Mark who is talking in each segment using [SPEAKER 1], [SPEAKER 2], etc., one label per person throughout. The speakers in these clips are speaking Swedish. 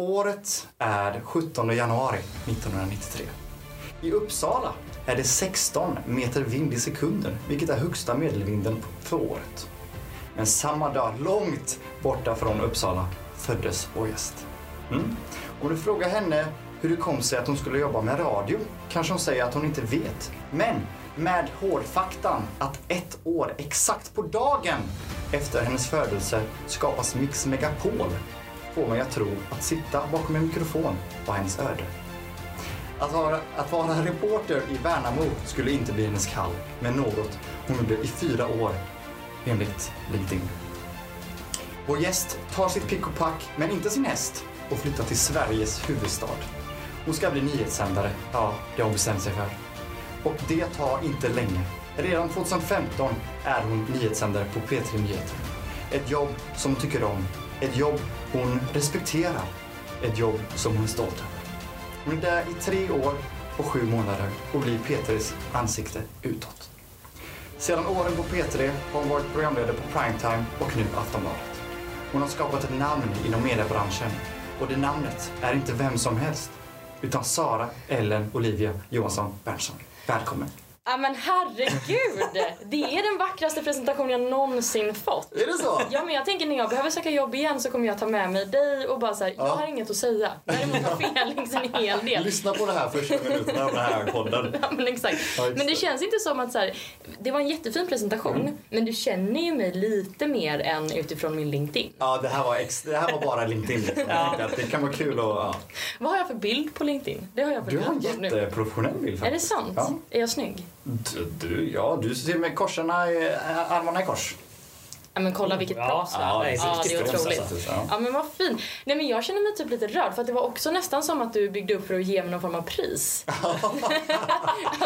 [SPEAKER 1] Året är 17 januari 1993. I Uppsala är det 16 meter vind i sekunden, vilket är högsta medelvinden på- för året. Men samma dag, långt borta från Uppsala, föddes vår gäst. Mm. Om du frågar henne hur det kom sig att hon skulle jobba med radio kanske hon säger att hon inte vet. Men med hårdfaktan att ett år exakt på dagen efter hennes födelse skapas Mix Megapol får mig att tro att sitta bakom en mikrofon var hennes öde. Att vara, att vara reporter i Värnamo skulle inte bli hennes kall, men något hon gjorde i fyra år enligt LinkedIn. Vår gäst tar sitt pick och pack, men inte sin häst, och flyttar till Sveriges huvudstad. Hon ska bli nyhetssändare, ja, det har hon bestämt sig för. Och det tar inte länge. Redan 2015 är hon nyhetssändare på P3 Nyheter. Ett jobb som hon tycker om, ett jobb hon respekterar, ett jobb som hon är stolt över. Hon är där i tre år och sju månader och blir P3s ansikte utåt. Sedan åren på P3 har hon varit programledare på Primetime och nu Aftonbladet. Hon har skapat ett namn inom mediebranschen och det namnet är inte vem som helst utan Sara Ellen Olivia Johansson Berntsson. Välkommen!
[SPEAKER 2] Ja men herregud! Det är den vackraste presentation jag någonsin fått.
[SPEAKER 1] Är det så?
[SPEAKER 2] Ja men jag tänker när jag behöver söka jobb igen så kommer jag ta med mig dig och bara såhär,
[SPEAKER 1] Ja.
[SPEAKER 2] jag har inget att säga. Däremot har Felix en hel del.
[SPEAKER 1] Lyssna på det här första minuterna av den här podden.
[SPEAKER 2] Ja, men exakt.
[SPEAKER 1] Ja, just
[SPEAKER 2] Men det
[SPEAKER 1] det. Mm.
[SPEAKER 2] känns inte som att så här, det var en jättefin presentation men du känner ju mig lite mer än utifrån min LinkedIn.
[SPEAKER 1] Ja, det här var, ex- det här var bara LinkedIn. Liksom. Jag tänkte att Det kan vara kul att... Ja.
[SPEAKER 2] Vad har jag för bild på LinkedIn? Det har jag fått
[SPEAKER 1] Du har en
[SPEAKER 2] reda på nu.
[SPEAKER 1] jätteprofessionell bild
[SPEAKER 2] Är det
[SPEAKER 1] faktiskt.
[SPEAKER 2] sant?
[SPEAKER 1] Ja.
[SPEAKER 2] Är jag snygg?
[SPEAKER 1] Du, du, ja, du ser med korsarna, i- äh, armarna i kors.
[SPEAKER 2] Ja men kolla vilket proffs va?
[SPEAKER 1] Mm, ja,
[SPEAKER 3] nej,
[SPEAKER 1] det är
[SPEAKER 2] Ja, det är
[SPEAKER 1] riktigt alltså.
[SPEAKER 2] otroligt.
[SPEAKER 1] proffsigt, ja.
[SPEAKER 2] Ja men vad fint. Nej men jag känner mig typ lite rörd för att det var också nästan som att du byggde upp för att ge mig någon form av pris. Alltså, att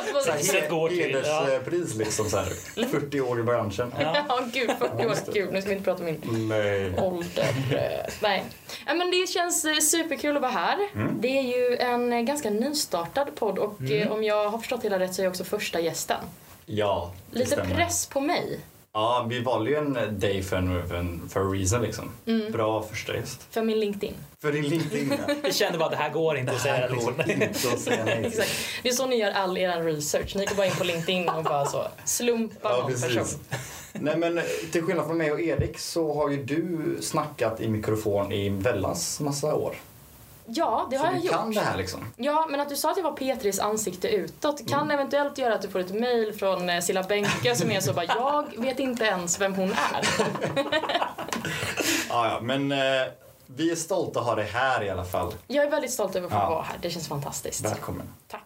[SPEAKER 2] det var,
[SPEAKER 3] här, Priset går till-
[SPEAKER 1] Hederspris liksom så här. 40 år i branschen. Mm,
[SPEAKER 2] ja gud vad det var kul. Nu ska vi inte prata om min
[SPEAKER 1] Nej.
[SPEAKER 2] ålder. Eh, Nej. Ja, men det känns eh, superkul att vara här.
[SPEAKER 1] Mm.
[SPEAKER 2] Det är ju en eh, ganska nystartad podd och eh, om jag har förstått hela rätt så är jag också första gästen.
[SPEAKER 1] Ja, det
[SPEAKER 2] Lite
[SPEAKER 1] stämmer.
[SPEAKER 2] press på mig.
[SPEAKER 1] Ja, vi valde ju en day för en, för en for a reason liksom.
[SPEAKER 2] Mm.
[SPEAKER 1] Bra första gäst.
[SPEAKER 2] För min LinkedIn.
[SPEAKER 1] För din LinkedIn. ja.
[SPEAKER 3] Vi kände bara att det här går inte att
[SPEAKER 1] Det
[SPEAKER 3] säga.
[SPEAKER 1] här
[SPEAKER 3] Liksom.
[SPEAKER 1] går inte att säga nej till.
[SPEAKER 2] Exakt. Det är så ni gör all er research. Ni går bara in på LinkedIn och bara så slumpar
[SPEAKER 1] Ja,
[SPEAKER 2] någon
[SPEAKER 1] precis.
[SPEAKER 2] person.
[SPEAKER 1] Nej men eh, till skillnad från mig och Erik så har ju du snackat i mikrofon i vällans massa år.
[SPEAKER 2] Ja, det har
[SPEAKER 1] så
[SPEAKER 2] jag
[SPEAKER 1] du kan
[SPEAKER 2] gjort.
[SPEAKER 1] det här liksom.
[SPEAKER 2] Ja, men att du sa att jag var Petris ansikte utåt kan
[SPEAKER 3] Mm.
[SPEAKER 2] eventuellt göra att du får ett mejl från eh, Silla Bänke som är så bara jag vet inte ens vem hon är.
[SPEAKER 1] Ja, ja, men eh, vi är stolta att ha dig här i alla fall.
[SPEAKER 2] Jag är väldigt stolt över att få
[SPEAKER 1] Ja.
[SPEAKER 2] vara här. Det känns fantastiskt.
[SPEAKER 1] Välkommen.
[SPEAKER 2] Tack.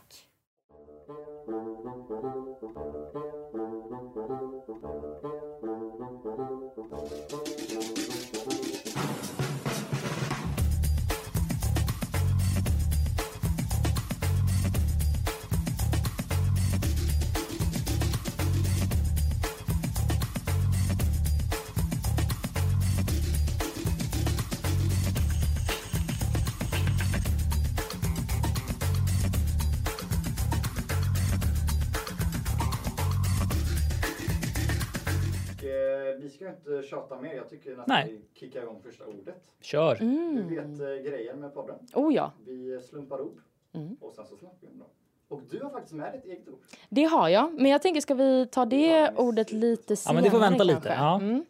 [SPEAKER 1] eh, Vi ska inte tjata mer. Jag tycker att
[SPEAKER 3] Nej.
[SPEAKER 1] vi kickar igång första ordet.
[SPEAKER 3] Kör.
[SPEAKER 2] Mm.
[SPEAKER 1] Du vet eh, grejen med podden.
[SPEAKER 2] Oh ja,
[SPEAKER 1] Vi slumpar ord och sen så snackar vi om dem. Och du har faktiskt med ett eget ord.
[SPEAKER 2] det har jag. Men jag tänker ska vi ta det ordet lite
[SPEAKER 3] Ja,
[SPEAKER 2] senare
[SPEAKER 3] men det får vänta
[SPEAKER 2] kanske?
[SPEAKER 3] lite, ja.
[SPEAKER 2] Mm.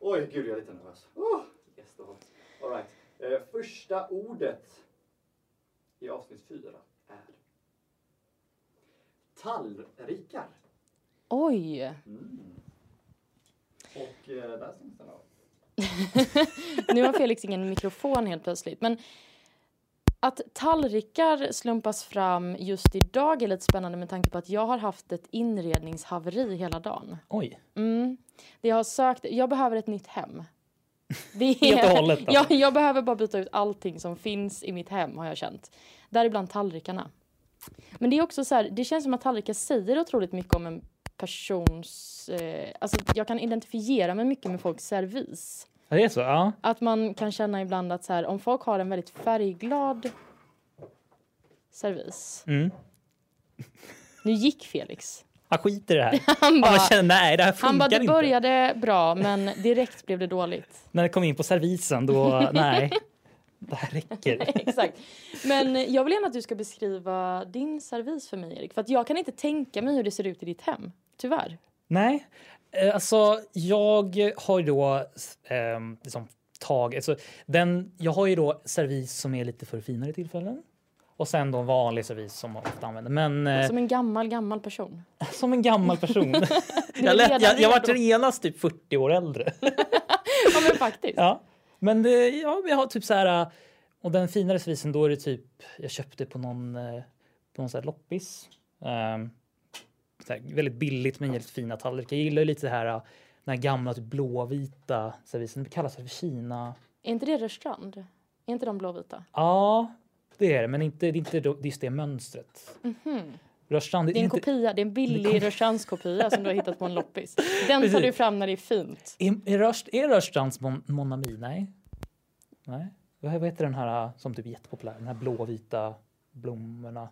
[SPEAKER 1] Oj, gud jag är lite nervös. Oh, yes, då. All right. eh, första ordet i avsnitt fyra är tallrikar.
[SPEAKER 2] Oj,
[SPEAKER 1] Och eh, där stängs den av.
[SPEAKER 2] nu har Felix ingen mikrofon helt plötsligt. Men att tallrikar slumpas fram just idag är lite spännande med tanke på att jag har haft ett inredningshaveri hela dagen.
[SPEAKER 3] Oj.
[SPEAKER 2] Mm. Det jag har sökt, jag behöver ett nytt hem. Det är,
[SPEAKER 3] Helt och hållet,
[SPEAKER 2] jag,
[SPEAKER 3] alltså.
[SPEAKER 2] jag behöver bara byta ut allting som finns i mitt hem har jag känt. Däribland tallrikarna. Men det är också så här, det känns som att tallrikar säger otroligt mycket om en persons... Eh, alltså jag kan identifiera mig mycket med folks servis.
[SPEAKER 3] Ja, Det är så? Ja.
[SPEAKER 2] Att man kan känna ibland att så här, om folk har en väldigt färgglad servis.
[SPEAKER 3] Mm.
[SPEAKER 2] Nu gick Felix.
[SPEAKER 3] Han skiter i det här.
[SPEAKER 2] Han
[SPEAKER 3] Han
[SPEAKER 2] bara,
[SPEAKER 3] bara känner nej, det här
[SPEAKER 2] han bara
[SPEAKER 3] funkar
[SPEAKER 2] det
[SPEAKER 3] inte.
[SPEAKER 2] började bra men direkt blev det dåligt.
[SPEAKER 3] När det kom in på servisen då, nej. Det här räcker.
[SPEAKER 2] Exakt. Men jag vill gärna att du ska beskriva din servis för mig, Erik. För att jag kan inte tänka mig hur det ser ut i ditt hem. Tyvärr.
[SPEAKER 3] Nej, eh, alltså jag har ju då eh, liksom tag, alltså, den, jag har ju då servis som är lite för finare tillfällen och sen då en vanlig servis som man ofta använder. Men eh,
[SPEAKER 2] Som en gammal, gammal person.
[SPEAKER 3] som en gammal person. jag,
[SPEAKER 2] redan
[SPEAKER 3] lät, jag, jag var
[SPEAKER 2] redo.
[SPEAKER 3] genast typ 40 år äldre.
[SPEAKER 2] Ja, men faktiskt.
[SPEAKER 3] Ja. Men det, ja, men jag har typ så här... Och den finare servisen då är det typ... Jag köpte på någon, eh, på någon så här loppis. Ehm, så här, väldigt billigt men jävligt fina tallrikar. Jag gillar ju lite det här, eh, den här gamla typ blåvita servisen. Det kallas för Kina...
[SPEAKER 2] Är inte det Rörstrand? Är inte de blåvita?
[SPEAKER 3] Ja, det är det. Men inte, det är inte då- det är just det mönstret. Rörstrand är
[SPEAKER 2] Mhm. Det är en
[SPEAKER 3] inte...
[SPEAKER 2] kopia. Det är en billig Rörstrandskopia som du har hittat på en loppis. Den tar
[SPEAKER 3] Precis.
[SPEAKER 2] du fram när det är fint.
[SPEAKER 3] Är, är, Rörst, är Rörstrands Mon, Mon Ami? Nej. Nej. Vad vad heter den här eh, som typ är jättepopulär? Den här blåvita blommorna.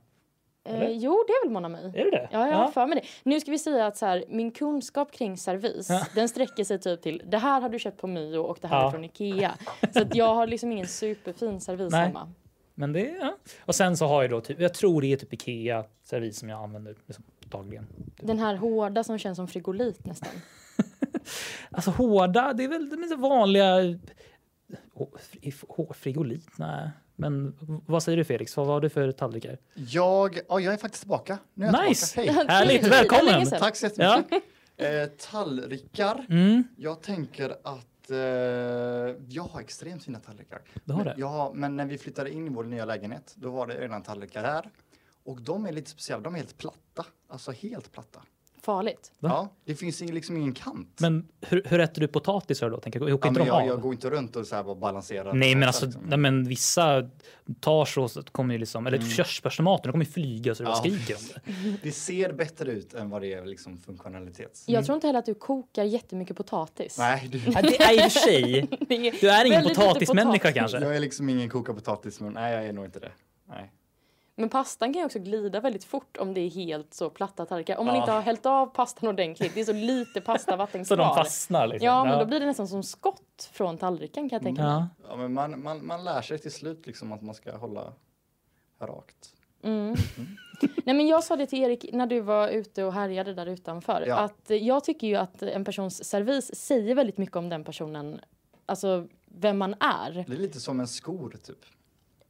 [SPEAKER 2] Eh,
[SPEAKER 3] Eller?
[SPEAKER 2] jo, det är väl Mon Ami?
[SPEAKER 3] Är det det?
[SPEAKER 2] Ja, jag har för mig det. Nu ska vi säga att så här, min kunskap kring servis, den sträcker sig typ till det här har du köpt på Mio och det här är
[SPEAKER 3] Ja.
[SPEAKER 2] från Ikea. Så att jag har liksom ingen superfin servis
[SPEAKER 3] Nej.
[SPEAKER 2] hemma.
[SPEAKER 3] Men det, ja. Och sen så har jag då, typ, jag tror det är typ Ikea-servis som jag använder liksom, dagligen.
[SPEAKER 2] Den här hårda som känns som frigolit nästan.
[SPEAKER 3] Alltså hårda, det är väl det är vanliga... Hå- fri- hå- Frigolit? Nej. Men v- vad säger du Felix? Vad var du för tallrikar?
[SPEAKER 1] Jag, ja, jag är faktiskt tillbaka. Nu är jag
[SPEAKER 3] Nice!
[SPEAKER 1] tillbaka. Hej!
[SPEAKER 3] Härligt,
[SPEAKER 2] Det var länge
[SPEAKER 3] välkommen!
[SPEAKER 2] sedan.
[SPEAKER 1] Tack så
[SPEAKER 3] Ja.
[SPEAKER 1] jättemycket. Eh, tallrikar.
[SPEAKER 3] Mm,
[SPEAKER 1] Jag tänker att eh, jag har extremt fina tallrikar.
[SPEAKER 3] du har
[SPEAKER 1] Men-
[SPEAKER 3] det.
[SPEAKER 1] Ja, men när vi flyttade in i vår nya lägenhet, då var det redan tallrikar här. Och de är lite speciella, de är helt platta. Alltså helt platta.
[SPEAKER 2] Farligt.
[SPEAKER 3] Va?
[SPEAKER 1] Ja, det finns ing- liksom ingen kant.
[SPEAKER 3] Men hur, hur äter du potatisar då? Tänker jag? Hur
[SPEAKER 1] ja,
[SPEAKER 3] åker
[SPEAKER 1] men
[SPEAKER 3] inte de
[SPEAKER 1] jag, jag
[SPEAKER 3] av?
[SPEAKER 1] går inte runt och så här bara balanserar.
[SPEAKER 3] Nej men
[SPEAKER 1] Så
[SPEAKER 3] alltså,
[SPEAKER 1] liksom.
[SPEAKER 3] nej, men vissa tar så så kommer ju liksom, eller körsbärstomater, de kommer ju flyga så det bara
[SPEAKER 1] Mm. Ja.
[SPEAKER 3] skriker om det.
[SPEAKER 1] Det ser bättre ut än vad det är liksom funktionalitet.
[SPEAKER 3] Mm.
[SPEAKER 2] Jag tror inte heller att du kokar jättemycket potatis.
[SPEAKER 1] Nej, du,
[SPEAKER 3] Ja, det är i och för sig,
[SPEAKER 2] Det är
[SPEAKER 3] du är ingen
[SPEAKER 2] väldigt lite
[SPEAKER 3] potatismänniska
[SPEAKER 2] potatis.
[SPEAKER 3] kanske?
[SPEAKER 1] jag är liksom ingen koka potatis, men nej, jag är nog inte det. Nej.
[SPEAKER 2] Men pastan kan ju också glida väldigt fort om det är helt så platta tallrikar. Om man
[SPEAKER 1] Ja.
[SPEAKER 2] inte har hällt av pastan ordentligt. Det är så lite pastavatten
[SPEAKER 3] Så
[SPEAKER 2] kvar.
[SPEAKER 3] de fastnar liksom?
[SPEAKER 2] Ja, men då blir det nästan som skott från tallriken kan jag tänka mig.
[SPEAKER 3] Ja.
[SPEAKER 1] Ja, men man, man, man lär sig till slut liksom att man ska hålla rakt.
[SPEAKER 2] Mm. Nej, men jag sa det till Erik när du var ute och härjade där utanför.
[SPEAKER 1] Ja.
[SPEAKER 2] Att eh, jag tycker ju att en persons servis säger väldigt mycket om den personen. Alltså vem man är.
[SPEAKER 1] Det är lite som en skor typ.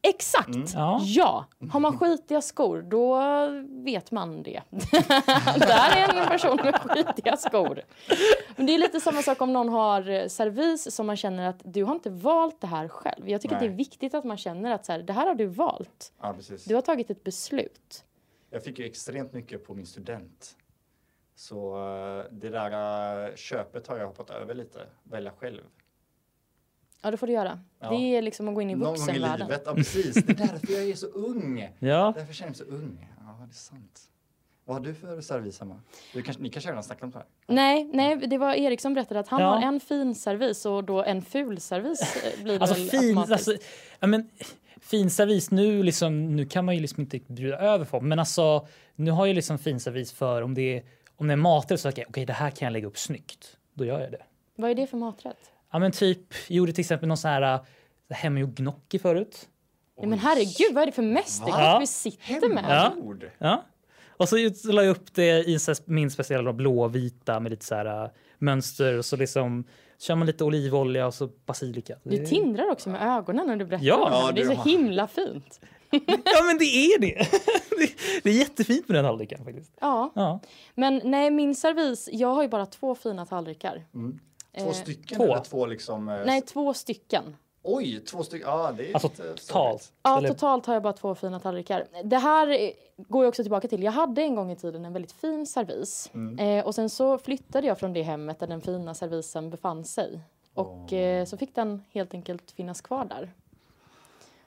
[SPEAKER 2] Exakt!
[SPEAKER 1] Mm.
[SPEAKER 3] Ja.
[SPEAKER 2] Ja! Har man skitiga skor, då vet man det. Där är en person med skitiga skor. Men det är lite samma sak om någon har eh, servis som man känner att du har inte valt det här själv. Jag tycker att det är
[SPEAKER 1] Nej.
[SPEAKER 2] viktigt att man känner att så här, det här har du valt.
[SPEAKER 1] Ja, precis.
[SPEAKER 2] Du har tagit ett beslut.
[SPEAKER 1] Jag fick ju extremt mycket på min student. Så eh, det där eh, köpet har jag hoppat över lite. Välja själv.
[SPEAKER 2] Ja, det får du göra.
[SPEAKER 1] Ja.
[SPEAKER 2] Det är liksom att gå in i
[SPEAKER 1] Någon gång i
[SPEAKER 2] vuxenvärlden.
[SPEAKER 1] livet. Ja, precis. Det är därför jag är så ung.
[SPEAKER 3] Ja.
[SPEAKER 1] Därför känner jag mig så ung. Ja, det är sant. Vad har du för servis hemma? Du kanske, ni kanske redan snackat om det här?
[SPEAKER 2] Nej, nej, det var Erik som berättade att han
[SPEAKER 3] Ja.
[SPEAKER 2] har en fin servis och då en ful servis eh, blir det
[SPEAKER 3] Alltså
[SPEAKER 2] väl
[SPEAKER 3] fin,
[SPEAKER 2] automatiskt.
[SPEAKER 3] alltså, ja, men, fin servis nu, liksom, nu kan man ju liksom inte riktigt bjuda över folk. Men alltså, nu har jag liksom fin servis för om det är, om det är maträtt så okej, okay, det här kan jag lägga upp snyggt. Då gör jag det.
[SPEAKER 2] Vad är det för maträtt?
[SPEAKER 3] Ja men typ, jag gjorde till exempel någon sån här äh, hemmagjord gnocchi förut.
[SPEAKER 2] Nej, men herregud, vad är det för mästerkock
[SPEAKER 3] Ja.
[SPEAKER 2] vi sitter med?
[SPEAKER 1] Hemmagjord!
[SPEAKER 3] Ja. Och så ut- la jag upp det i så här min speciella då, blåvita med lite så här äh, mönster och så liksom kör man lite olivolja och så basilika.
[SPEAKER 2] Du tindrar också med ögonen när du berättar
[SPEAKER 3] Ja.
[SPEAKER 2] om det.
[SPEAKER 1] Ja,
[SPEAKER 2] här. Det är
[SPEAKER 1] du
[SPEAKER 2] så
[SPEAKER 1] har-
[SPEAKER 2] himla fint.
[SPEAKER 3] Ja men det är det! det, det är jättefint med den tallriken faktiskt.
[SPEAKER 2] Ja.
[SPEAKER 3] Ja.
[SPEAKER 2] Men nej, min servis, jag har ju bara två fina tallrikar.
[SPEAKER 1] Två stycken
[SPEAKER 3] två.
[SPEAKER 1] eller två liksom? eh,
[SPEAKER 2] Eh, Nej,
[SPEAKER 1] s-
[SPEAKER 2] två stycken.
[SPEAKER 1] Oj, två stycken. Ja, det är
[SPEAKER 3] Alltså
[SPEAKER 1] lite sorgligt.
[SPEAKER 3] totalt.
[SPEAKER 2] Ja,
[SPEAKER 3] Eller-
[SPEAKER 2] totalt har jag bara två fina tallrikar. Det här eh, går jag också tillbaka till. Jag hade en gång i tiden en väldigt fin servis. Eh, och sen så flyttade jag från det hemmet där den fina servisen befann sig. Och eh, så fick den helt enkelt finnas kvar där.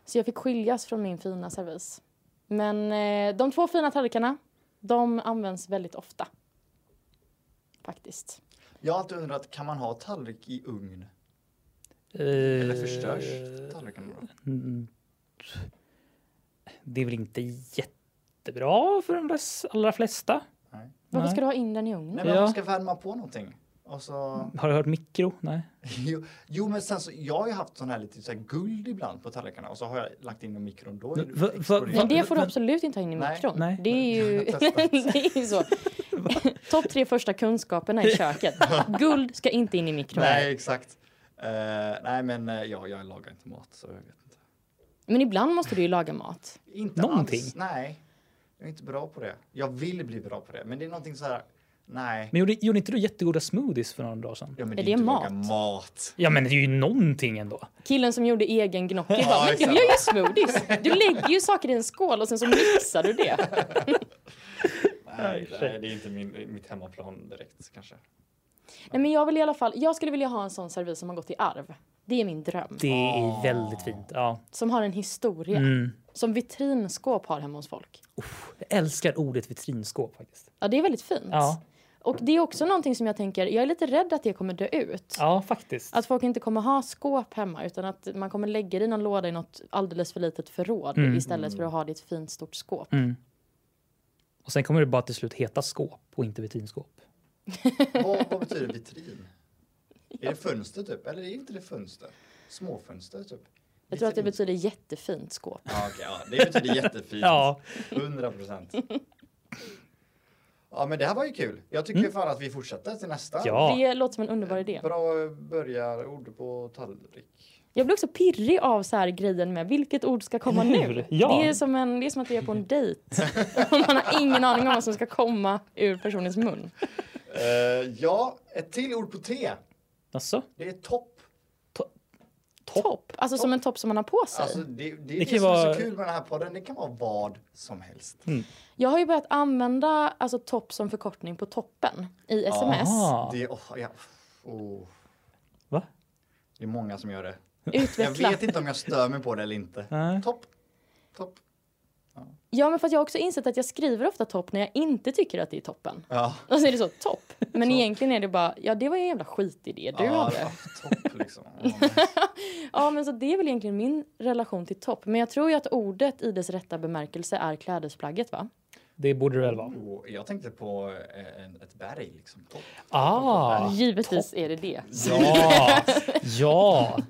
[SPEAKER 2] Så jag fick skiljas från min fina servis. Men eh, de två fina tallrikarna, de används väldigt ofta. Faktiskt.
[SPEAKER 1] Jag har alltid undrat, kan man ha tallrik i ugn? Eller
[SPEAKER 3] Eh,
[SPEAKER 1] förstörs tallriken då?
[SPEAKER 3] Det är väl inte jättebra för de dess- allra flesta.
[SPEAKER 1] Nej.
[SPEAKER 2] Varför
[SPEAKER 3] Nej.
[SPEAKER 2] ska du ha in den i ugnen?
[SPEAKER 1] Nej, men
[SPEAKER 3] Ja.
[SPEAKER 1] man ska värma på någonting. Och så,
[SPEAKER 3] Har du hört mikro? Nej.
[SPEAKER 1] jo, jo, men sen så, jag har ju haft sån här lite så här guld ibland på tallrikarna och så har jag lagt in i mikron då. Är det
[SPEAKER 3] Va- va-
[SPEAKER 1] exploderat.
[SPEAKER 2] Men det får du
[SPEAKER 3] Men-
[SPEAKER 2] absolut inte ha in i
[SPEAKER 1] Nej.
[SPEAKER 2] mikron.
[SPEAKER 3] Nej.
[SPEAKER 2] Det är ju
[SPEAKER 1] Jag har testat.
[SPEAKER 2] det är ju så. Topp tre första kunskaperna i köket. Guld ska inte in i mikron.
[SPEAKER 1] Nej, exakt. Eh, nej, men eh, ja, jag lagar inte mat så jag vet inte.
[SPEAKER 2] Men ibland måste du ju laga mat.
[SPEAKER 1] Inte
[SPEAKER 3] Någonting.
[SPEAKER 1] alls. Nej, jag är inte bra på det. Jag vill bli bra på det, men det är någonting så här. Nej,
[SPEAKER 3] Men gjorde, gjorde inte du jättegoda smoothies för några dagar sedan?
[SPEAKER 1] ja, men
[SPEAKER 2] Är
[SPEAKER 1] är
[SPEAKER 2] det
[SPEAKER 1] inte
[SPEAKER 2] mat?
[SPEAKER 1] laga mat.
[SPEAKER 3] Ja, men det är ju någonting ändå.
[SPEAKER 2] Killen som gjorde egen gnocchi
[SPEAKER 1] Ja,
[SPEAKER 2] bara, men du
[SPEAKER 1] exakt.
[SPEAKER 2] gör ju smoothies. Du lägger ju saker i en skål och sen så mixar du det.
[SPEAKER 1] Nej,
[SPEAKER 3] shit.
[SPEAKER 1] nej, det är inte min, mitt hemmaplan direkt kanske.
[SPEAKER 2] Nej, men jag vill i alla fall, jag skulle vilja ha en sån servis som har gått i arv. Det är min dröm.
[SPEAKER 3] Det är väldigt fint. Ja.
[SPEAKER 2] Som har en historia.
[SPEAKER 3] Mm.
[SPEAKER 2] Som vitrinskåp har hemma hos folk.
[SPEAKER 3] Jag älskar ordet vitrinskåp faktiskt.
[SPEAKER 2] Ja, det är väldigt fint.
[SPEAKER 3] Ja,
[SPEAKER 2] Och det är också någonting som jag tänker, jag är lite rädd att det kommer dö ut.
[SPEAKER 3] ja faktiskt.
[SPEAKER 2] Att folk inte kommer ha skåp hemma utan att man kommer lägga det i någon låda i något alldeles för litet förråd
[SPEAKER 3] Mm.
[SPEAKER 2] istället för att ha det i ett fint stort skåp.
[SPEAKER 3] Mm. Och sen kommer det bara till slut heta skåp och inte vitrinskåp.
[SPEAKER 1] Vad, vad betyder vitrin? Är det fönster typ? Eller är inte det fönster? Småfönster typ?
[SPEAKER 2] Jag tror att det
[SPEAKER 1] Vitrin.
[SPEAKER 2] betyder jättefint skåp.
[SPEAKER 1] Ja, okej, ja, det betyder jättefint.
[SPEAKER 3] Ja,
[SPEAKER 1] 100 procent. Ja, men det här var ju kul. Jag tycker fan att vi fortsätter till nästa.
[SPEAKER 3] Mm. ja.
[SPEAKER 2] Det låter som en underbar idé.
[SPEAKER 1] Bra börjarord på tallrik.
[SPEAKER 2] Jag blir också pirrig av så här grejen med vilket ord ska komma
[SPEAKER 3] Eller
[SPEAKER 2] nu.
[SPEAKER 3] hur? Ja.
[SPEAKER 2] Det, är som en, det är som att vi är på en dejt. Och man har ingen aning om vad som ska komma ur personens mun.
[SPEAKER 1] Eh, ja, ett till ord på T.
[SPEAKER 3] Alltså,
[SPEAKER 1] Det är topp.
[SPEAKER 2] Topp. Alltså som en topp som man har på sig.
[SPEAKER 1] Alltså, det, det är
[SPEAKER 3] Det
[SPEAKER 1] det,
[SPEAKER 3] kan
[SPEAKER 1] som är
[SPEAKER 3] vara-
[SPEAKER 1] så kul med den här podden. Det kan vara vad som helst.
[SPEAKER 2] Jag har ju börjat använda alltså, topp som förkortning på toppen i sms.
[SPEAKER 3] aha.
[SPEAKER 1] Det, är- åh, ja, åh.
[SPEAKER 3] Va?
[SPEAKER 1] det är många som gör det.
[SPEAKER 2] Utveckla.
[SPEAKER 1] Jag vet inte om jag stör mig på det eller inte.
[SPEAKER 3] Nej.
[SPEAKER 1] Topp. Topp.
[SPEAKER 2] Ja, men för att jag har också insett att jag skriver ofta topp när jag inte tycker att det är toppen.
[SPEAKER 1] Ja.
[SPEAKER 2] Och så är det så, topp. Men egentligen är det bara, ja det var ju en jävla skitidé du
[SPEAKER 1] ja,
[SPEAKER 2] hade.
[SPEAKER 1] Topp liksom. Ja, men-
[SPEAKER 2] Ja, men så det är väl egentligen min relation till topp. Men jag tror ju att ordet i dess rätta bemärkelse är klädesplagget, va?
[SPEAKER 3] det borde det väl vara.
[SPEAKER 1] Och jag tänkte på eh, en, ett berg liksom. Topp.
[SPEAKER 3] Ah,
[SPEAKER 2] Givetvis är det det.
[SPEAKER 3] ja, ja.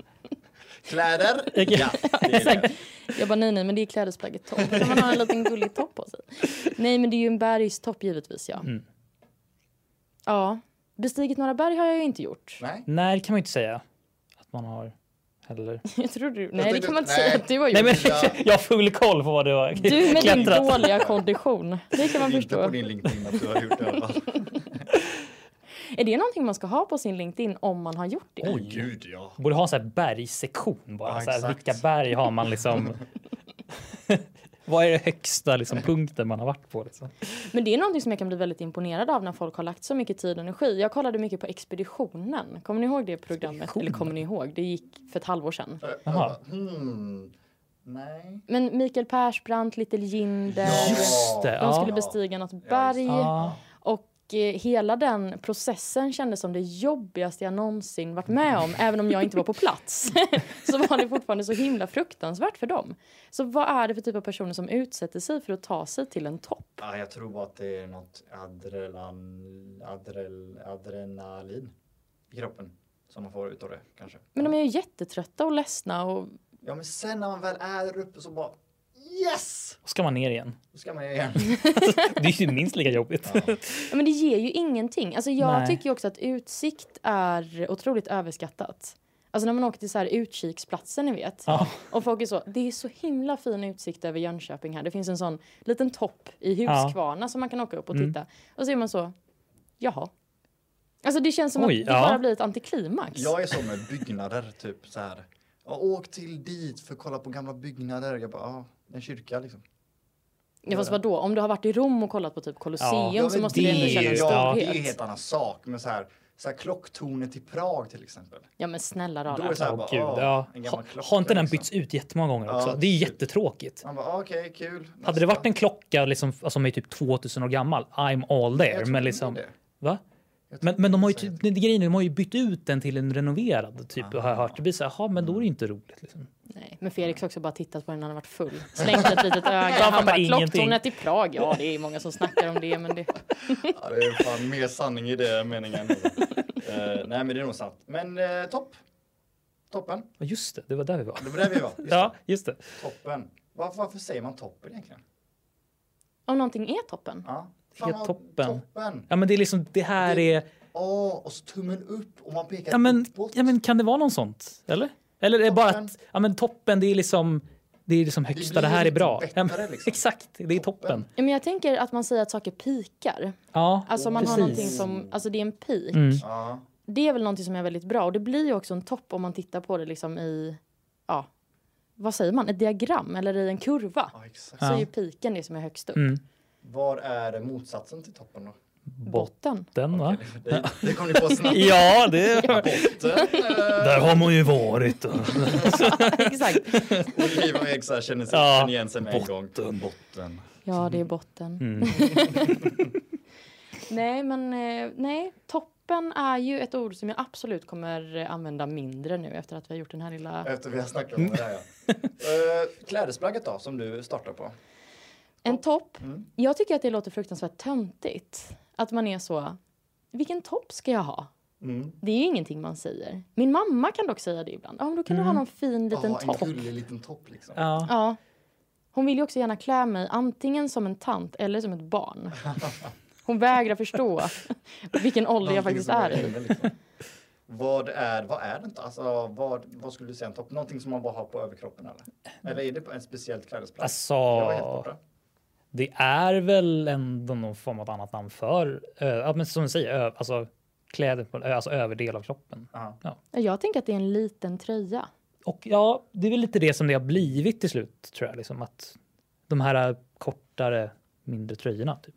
[SPEAKER 1] Kläder. Ja, det är det.
[SPEAKER 2] Jag bara, nej, nej, men det är klädesplagget topp. Kan man ha en liten gullig topp på sig? Nej, men det är ju en bergstopp givetvis, ja.
[SPEAKER 3] Mm.
[SPEAKER 2] Ja. Bestigit några berg har jag ju inte gjort.
[SPEAKER 1] Nej.
[SPEAKER 3] Nej, det kan man ju inte säga att man har heller.
[SPEAKER 2] Jag tror du... Nej, det
[SPEAKER 1] tänkte-
[SPEAKER 2] kan man inte
[SPEAKER 1] nej.
[SPEAKER 2] säga att du har gjort.
[SPEAKER 3] Nej, men
[SPEAKER 1] Ja.
[SPEAKER 3] jag har full koll på vad du har
[SPEAKER 2] Du med din
[SPEAKER 3] klättrat.
[SPEAKER 2] dåliga kondition. Det kan man
[SPEAKER 1] Inte på
[SPEAKER 2] förstå.
[SPEAKER 1] din LinkedIn att du har gjort det. i alla fall.
[SPEAKER 2] Är det någonting man ska ha på sin LinkedIn om man har gjort det?
[SPEAKER 1] Oj, gud ja.
[SPEAKER 3] Borde ha en sån här bergssektion bara.
[SPEAKER 1] Ja,
[SPEAKER 3] så här,
[SPEAKER 1] exakt.
[SPEAKER 3] vilka berg har man liksom? vad är det högsta liksom, punkten man har varit på? Liksom?
[SPEAKER 2] Men det är någonting som jag kan bli väldigt imponerad av när folk har lagt så mycket tid och energi. Jag kollade mycket på Expeditionen. Kommer ni ihåg det programmet? Eller kommer ni ihåg? Det gick för ett halvår sedan.
[SPEAKER 3] Jaha.
[SPEAKER 1] Eh, Hmm. Nej.
[SPEAKER 2] Men Mikael Persbrandt, Little Jinder.
[SPEAKER 1] Ja.
[SPEAKER 3] Eh, Just det.
[SPEAKER 2] De skulle
[SPEAKER 3] Ja.
[SPEAKER 2] bestiga något berg.
[SPEAKER 3] Ja.
[SPEAKER 2] Och eh, hela den processen kändes som det jobbigaste jag någonsin varit med om. Även om jag inte var på plats så var det fortfarande så himla fruktansvärt för dem. Så vad är det för typ av personer som utsätter sig för att ta sig till en topp?
[SPEAKER 1] Ja, jag tror bara att det är något adrelan, adrel, adrenalin i kroppen som man får ut av det kanske.
[SPEAKER 2] Men de är ju jättetrötta och ledsna och
[SPEAKER 1] Ja, men sen när man väl är där uppe så bara yes!
[SPEAKER 3] Och ska man ner igen.
[SPEAKER 1] Då ska man ju igen.
[SPEAKER 3] Det är ju minst lika jobbigt.
[SPEAKER 2] Ja, men det ger ju ingenting. Alltså jag
[SPEAKER 3] Nej.
[SPEAKER 2] tycker ju också att utsikt är otroligt överskattat. Alltså när man åker till så här utkiksplatser ni vet.
[SPEAKER 3] Ja.
[SPEAKER 2] Och folk är så, det är så himla fin utsikt över Jönköping här. Det finns en sån liten topp i
[SPEAKER 3] Ja.
[SPEAKER 2] Huskvarna som man kan åka upp och
[SPEAKER 3] Mm.
[SPEAKER 2] titta. Och så är man så, jaha. Alltså det känns som
[SPEAKER 3] Oj,
[SPEAKER 2] att det
[SPEAKER 3] ja.
[SPEAKER 2] bara blir ett antiklimax.
[SPEAKER 1] Jag är så med byggnader, typ så här. Ja, åk till dit för att kolla på gamla byggnader. Jag bara, ja, en kyrka liksom.
[SPEAKER 2] Ja, fast vadå, om du har varit i Rom och kollat på typ Colosseum
[SPEAKER 3] Ja,
[SPEAKER 2] så
[SPEAKER 1] men
[SPEAKER 2] måste det ändå
[SPEAKER 3] ju-
[SPEAKER 2] kännas
[SPEAKER 1] ja,
[SPEAKER 2] storhet.
[SPEAKER 1] det är ju en helt annan sak. Men så här, så här klocktornet i Prag till exempel.
[SPEAKER 2] Ja men snälla
[SPEAKER 1] Då är
[SPEAKER 2] rara.
[SPEAKER 1] det så här,
[SPEAKER 3] Åh,
[SPEAKER 1] bara,
[SPEAKER 3] gud,
[SPEAKER 1] ah,
[SPEAKER 3] ja.
[SPEAKER 1] en gammal
[SPEAKER 3] Ha,
[SPEAKER 1] klocka,
[SPEAKER 3] har inte den
[SPEAKER 1] liksom.
[SPEAKER 3] bytts ut jättemånga gånger
[SPEAKER 1] Ja,
[SPEAKER 3] också? det är ju
[SPEAKER 1] shit.
[SPEAKER 3] jättekråkigt.
[SPEAKER 1] Man bara, ah, okej, kul.
[SPEAKER 3] Hade
[SPEAKER 1] Nästa.
[SPEAKER 3] det varit en klocka liksom, alltså, som är typ 2000 år gammal, I'm all
[SPEAKER 1] Jag
[SPEAKER 3] there.
[SPEAKER 1] tror
[SPEAKER 3] Men
[SPEAKER 1] inte
[SPEAKER 3] liksom,
[SPEAKER 1] det.
[SPEAKER 3] va?
[SPEAKER 1] Jag Jag tror
[SPEAKER 3] Men, men de har ju,
[SPEAKER 1] inte
[SPEAKER 3] typ- det- grejen är, de har ju bytt ut den till en renoverad typ
[SPEAKER 1] Ah.
[SPEAKER 3] har jag hört. Det blir så här, "Jaha, men då är det inte roligt. Liksom.
[SPEAKER 2] Nej, men Felix har också bara tittat på den när han varit full. Slängt ett litet öga.
[SPEAKER 3] Han
[SPEAKER 2] Han
[SPEAKER 3] fattar
[SPEAKER 2] bara,
[SPEAKER 3] ingenting.
[SPEAKER 2] klocktornet i Prag. Ja, det är många som snackar om det, men det...
[SPEAKER 1] Ja, det är fan mer sanning i det meningen. Eh, nej, men det är nog sant. Men eh, topp. Toppen.
[SPEAKER 3] Ja, just det, det var där vi var.
[SPEAKER 1] Det var där vi var. Just
[SPEAKER 3] Ja, just det.
[SPEAKER 1] det. Toppen. Var, varför säger man toppen egentligen?
[SPEAKER 2] Om någonting är toppen.
[SPEAKER 1] Ja.
[SPEAKER 3] är
[SPEAKER 1] vad-
[SPEAKER 3] toppen.
[SPEAKER 1] Toppen.
[SPEAKER 3] Ja, men det är liksom, det här är...
[SPEAKER 1] Åh, och så tummen upp och man pekar
[SPEAKER 3] Ja men,
[SPEAKER 1] uppåt.
[SPEAKER 3] ja, men kan det vara någon sånt? Eller? Eller är det bara
[SPEAKER 1] Toppen.
[SPEAKER 3] att ja, men toppen, det är liksom det är liksom högsta, det,
[SPEAKER 1] blir
[SPEAKER 3] här är
[SPEAKER 1] lite
[SPEAKER 3] bra. ja,
[SPEAKER 1] bättre,
[SPEAKER 3] men,
[SPEAKER 1] liksom.
[SPEAKER 3] Exakt, det är toppen.
[SPEAKER 2] Ja, men jag tänker att man säger att saker pikar.
[SPEAKER 3] Ja,
[SPEAKER 2] Alltså man
[SPEAKER 3] precis.
[SPEAKER 2] har någonting som, alltså det är en peak.
[SPEAKER 3] Mm.
[SPEAKER 1] Ja.
[SPEAKER 2] Det är väl någonting som är väldigt bra och det blir ju också en topp om man tittar på det liksom i, ja, vad säger man, ett diagram eller i en kurva.
[SPEAKER 1] ja, exakt.
[SPEAKER 2] Så
[SPEAKER 3] Ja.
[SPEAKER 2] är ju piken det som är högst upp.
[SPEAKER 3] Mm.
[SPEAKER 1] Var är motsatsen till toppen då?
[SPEAKER 2] Botten.
[SPEAKER 3] Botten va?
[SPEAKER 1] Det, det kom ni på snabbt.
[SPEAKER 3] Ja, det...
[SPEAKER 1] Botten. eh,
[SPEAKER 3] Där har man ju varit.
[SPEAKER 2] Exakt.
[SPEAKER 1] Oliva och Eksa känner, sig,
[SPEAKER 3] Ja.
[SPEAKER 1] känner igen sig med en gång.
[SPEAKER 3] Botten.
[SPEAKER 1] Botten.
[SPEAKER 2] Ja, det är botten.
[SPEAKER 3] Mm.
[SPEAKER 2] Nej, men eh, nej, toppen är ju ett ord som jag absolut kommer eh, använda mindre nu efter att vi har gjort den här lilla...
[SPEAKER 1] Efter vi har snackat om det här ja. Eh, Klädesplagget då, som du startar på.
[SPEAKER 2] En topp.
[SPEAKER 1] Mm.
[SPEAKER 2] Jag tycker att det låter fruktansvärt töntigt. Att man är så, vilken topp ska jag ha?
[SPEAKER 1] Mm.
[SPEAKER 2] Det är ju ingenting man säger. Min mamma kan dock säga det ibland. Ja, men då kan du ha någon fin liten
[SPEAKER 1] Ja,
[SPEAKER 2] topp.
[SPEAKER 1] Ah, En gullig liten topp liksom.
[SPEAKER 3] Ja.
[SPEAKER 2] Ja. Hon vill ju också gärna klä mig antingen som en tant eller som ett barn. Hon vägrar förstå vilken ålder jag
[SPEAKER 1] Någonting
[SPEAKER 2] faktiskt
[SPEAKER 1] som
[SPEAKER 2] är i.
[SPEAKER 1] händer, liksom. Vad är, vad är det inte? Alltså, vad, vad skulle du säga en topp? Någonting som man bara har på överkroppen eller? Eller är det på en speciellt klädesplagg?
[SPEAKER 3] Alltså,
[SPEAKER 1] Jag var helt borta.
[SPEAKER 3] det är väl ändå någon form av annat namn för, ö, ja, men som du säger, ö, alltså kläder, på, ö, alltså överdel av kroppen.
[SPEAKER 1] Ja.
[SPEAKER 2] Jag tänker att det är en liten tröja.
[SPEAKER 3] Och ja, det är väl lite det som det har blivit till slut tror jag. Liksom, att de här eh, kortare, mindre tröjorna. Typ.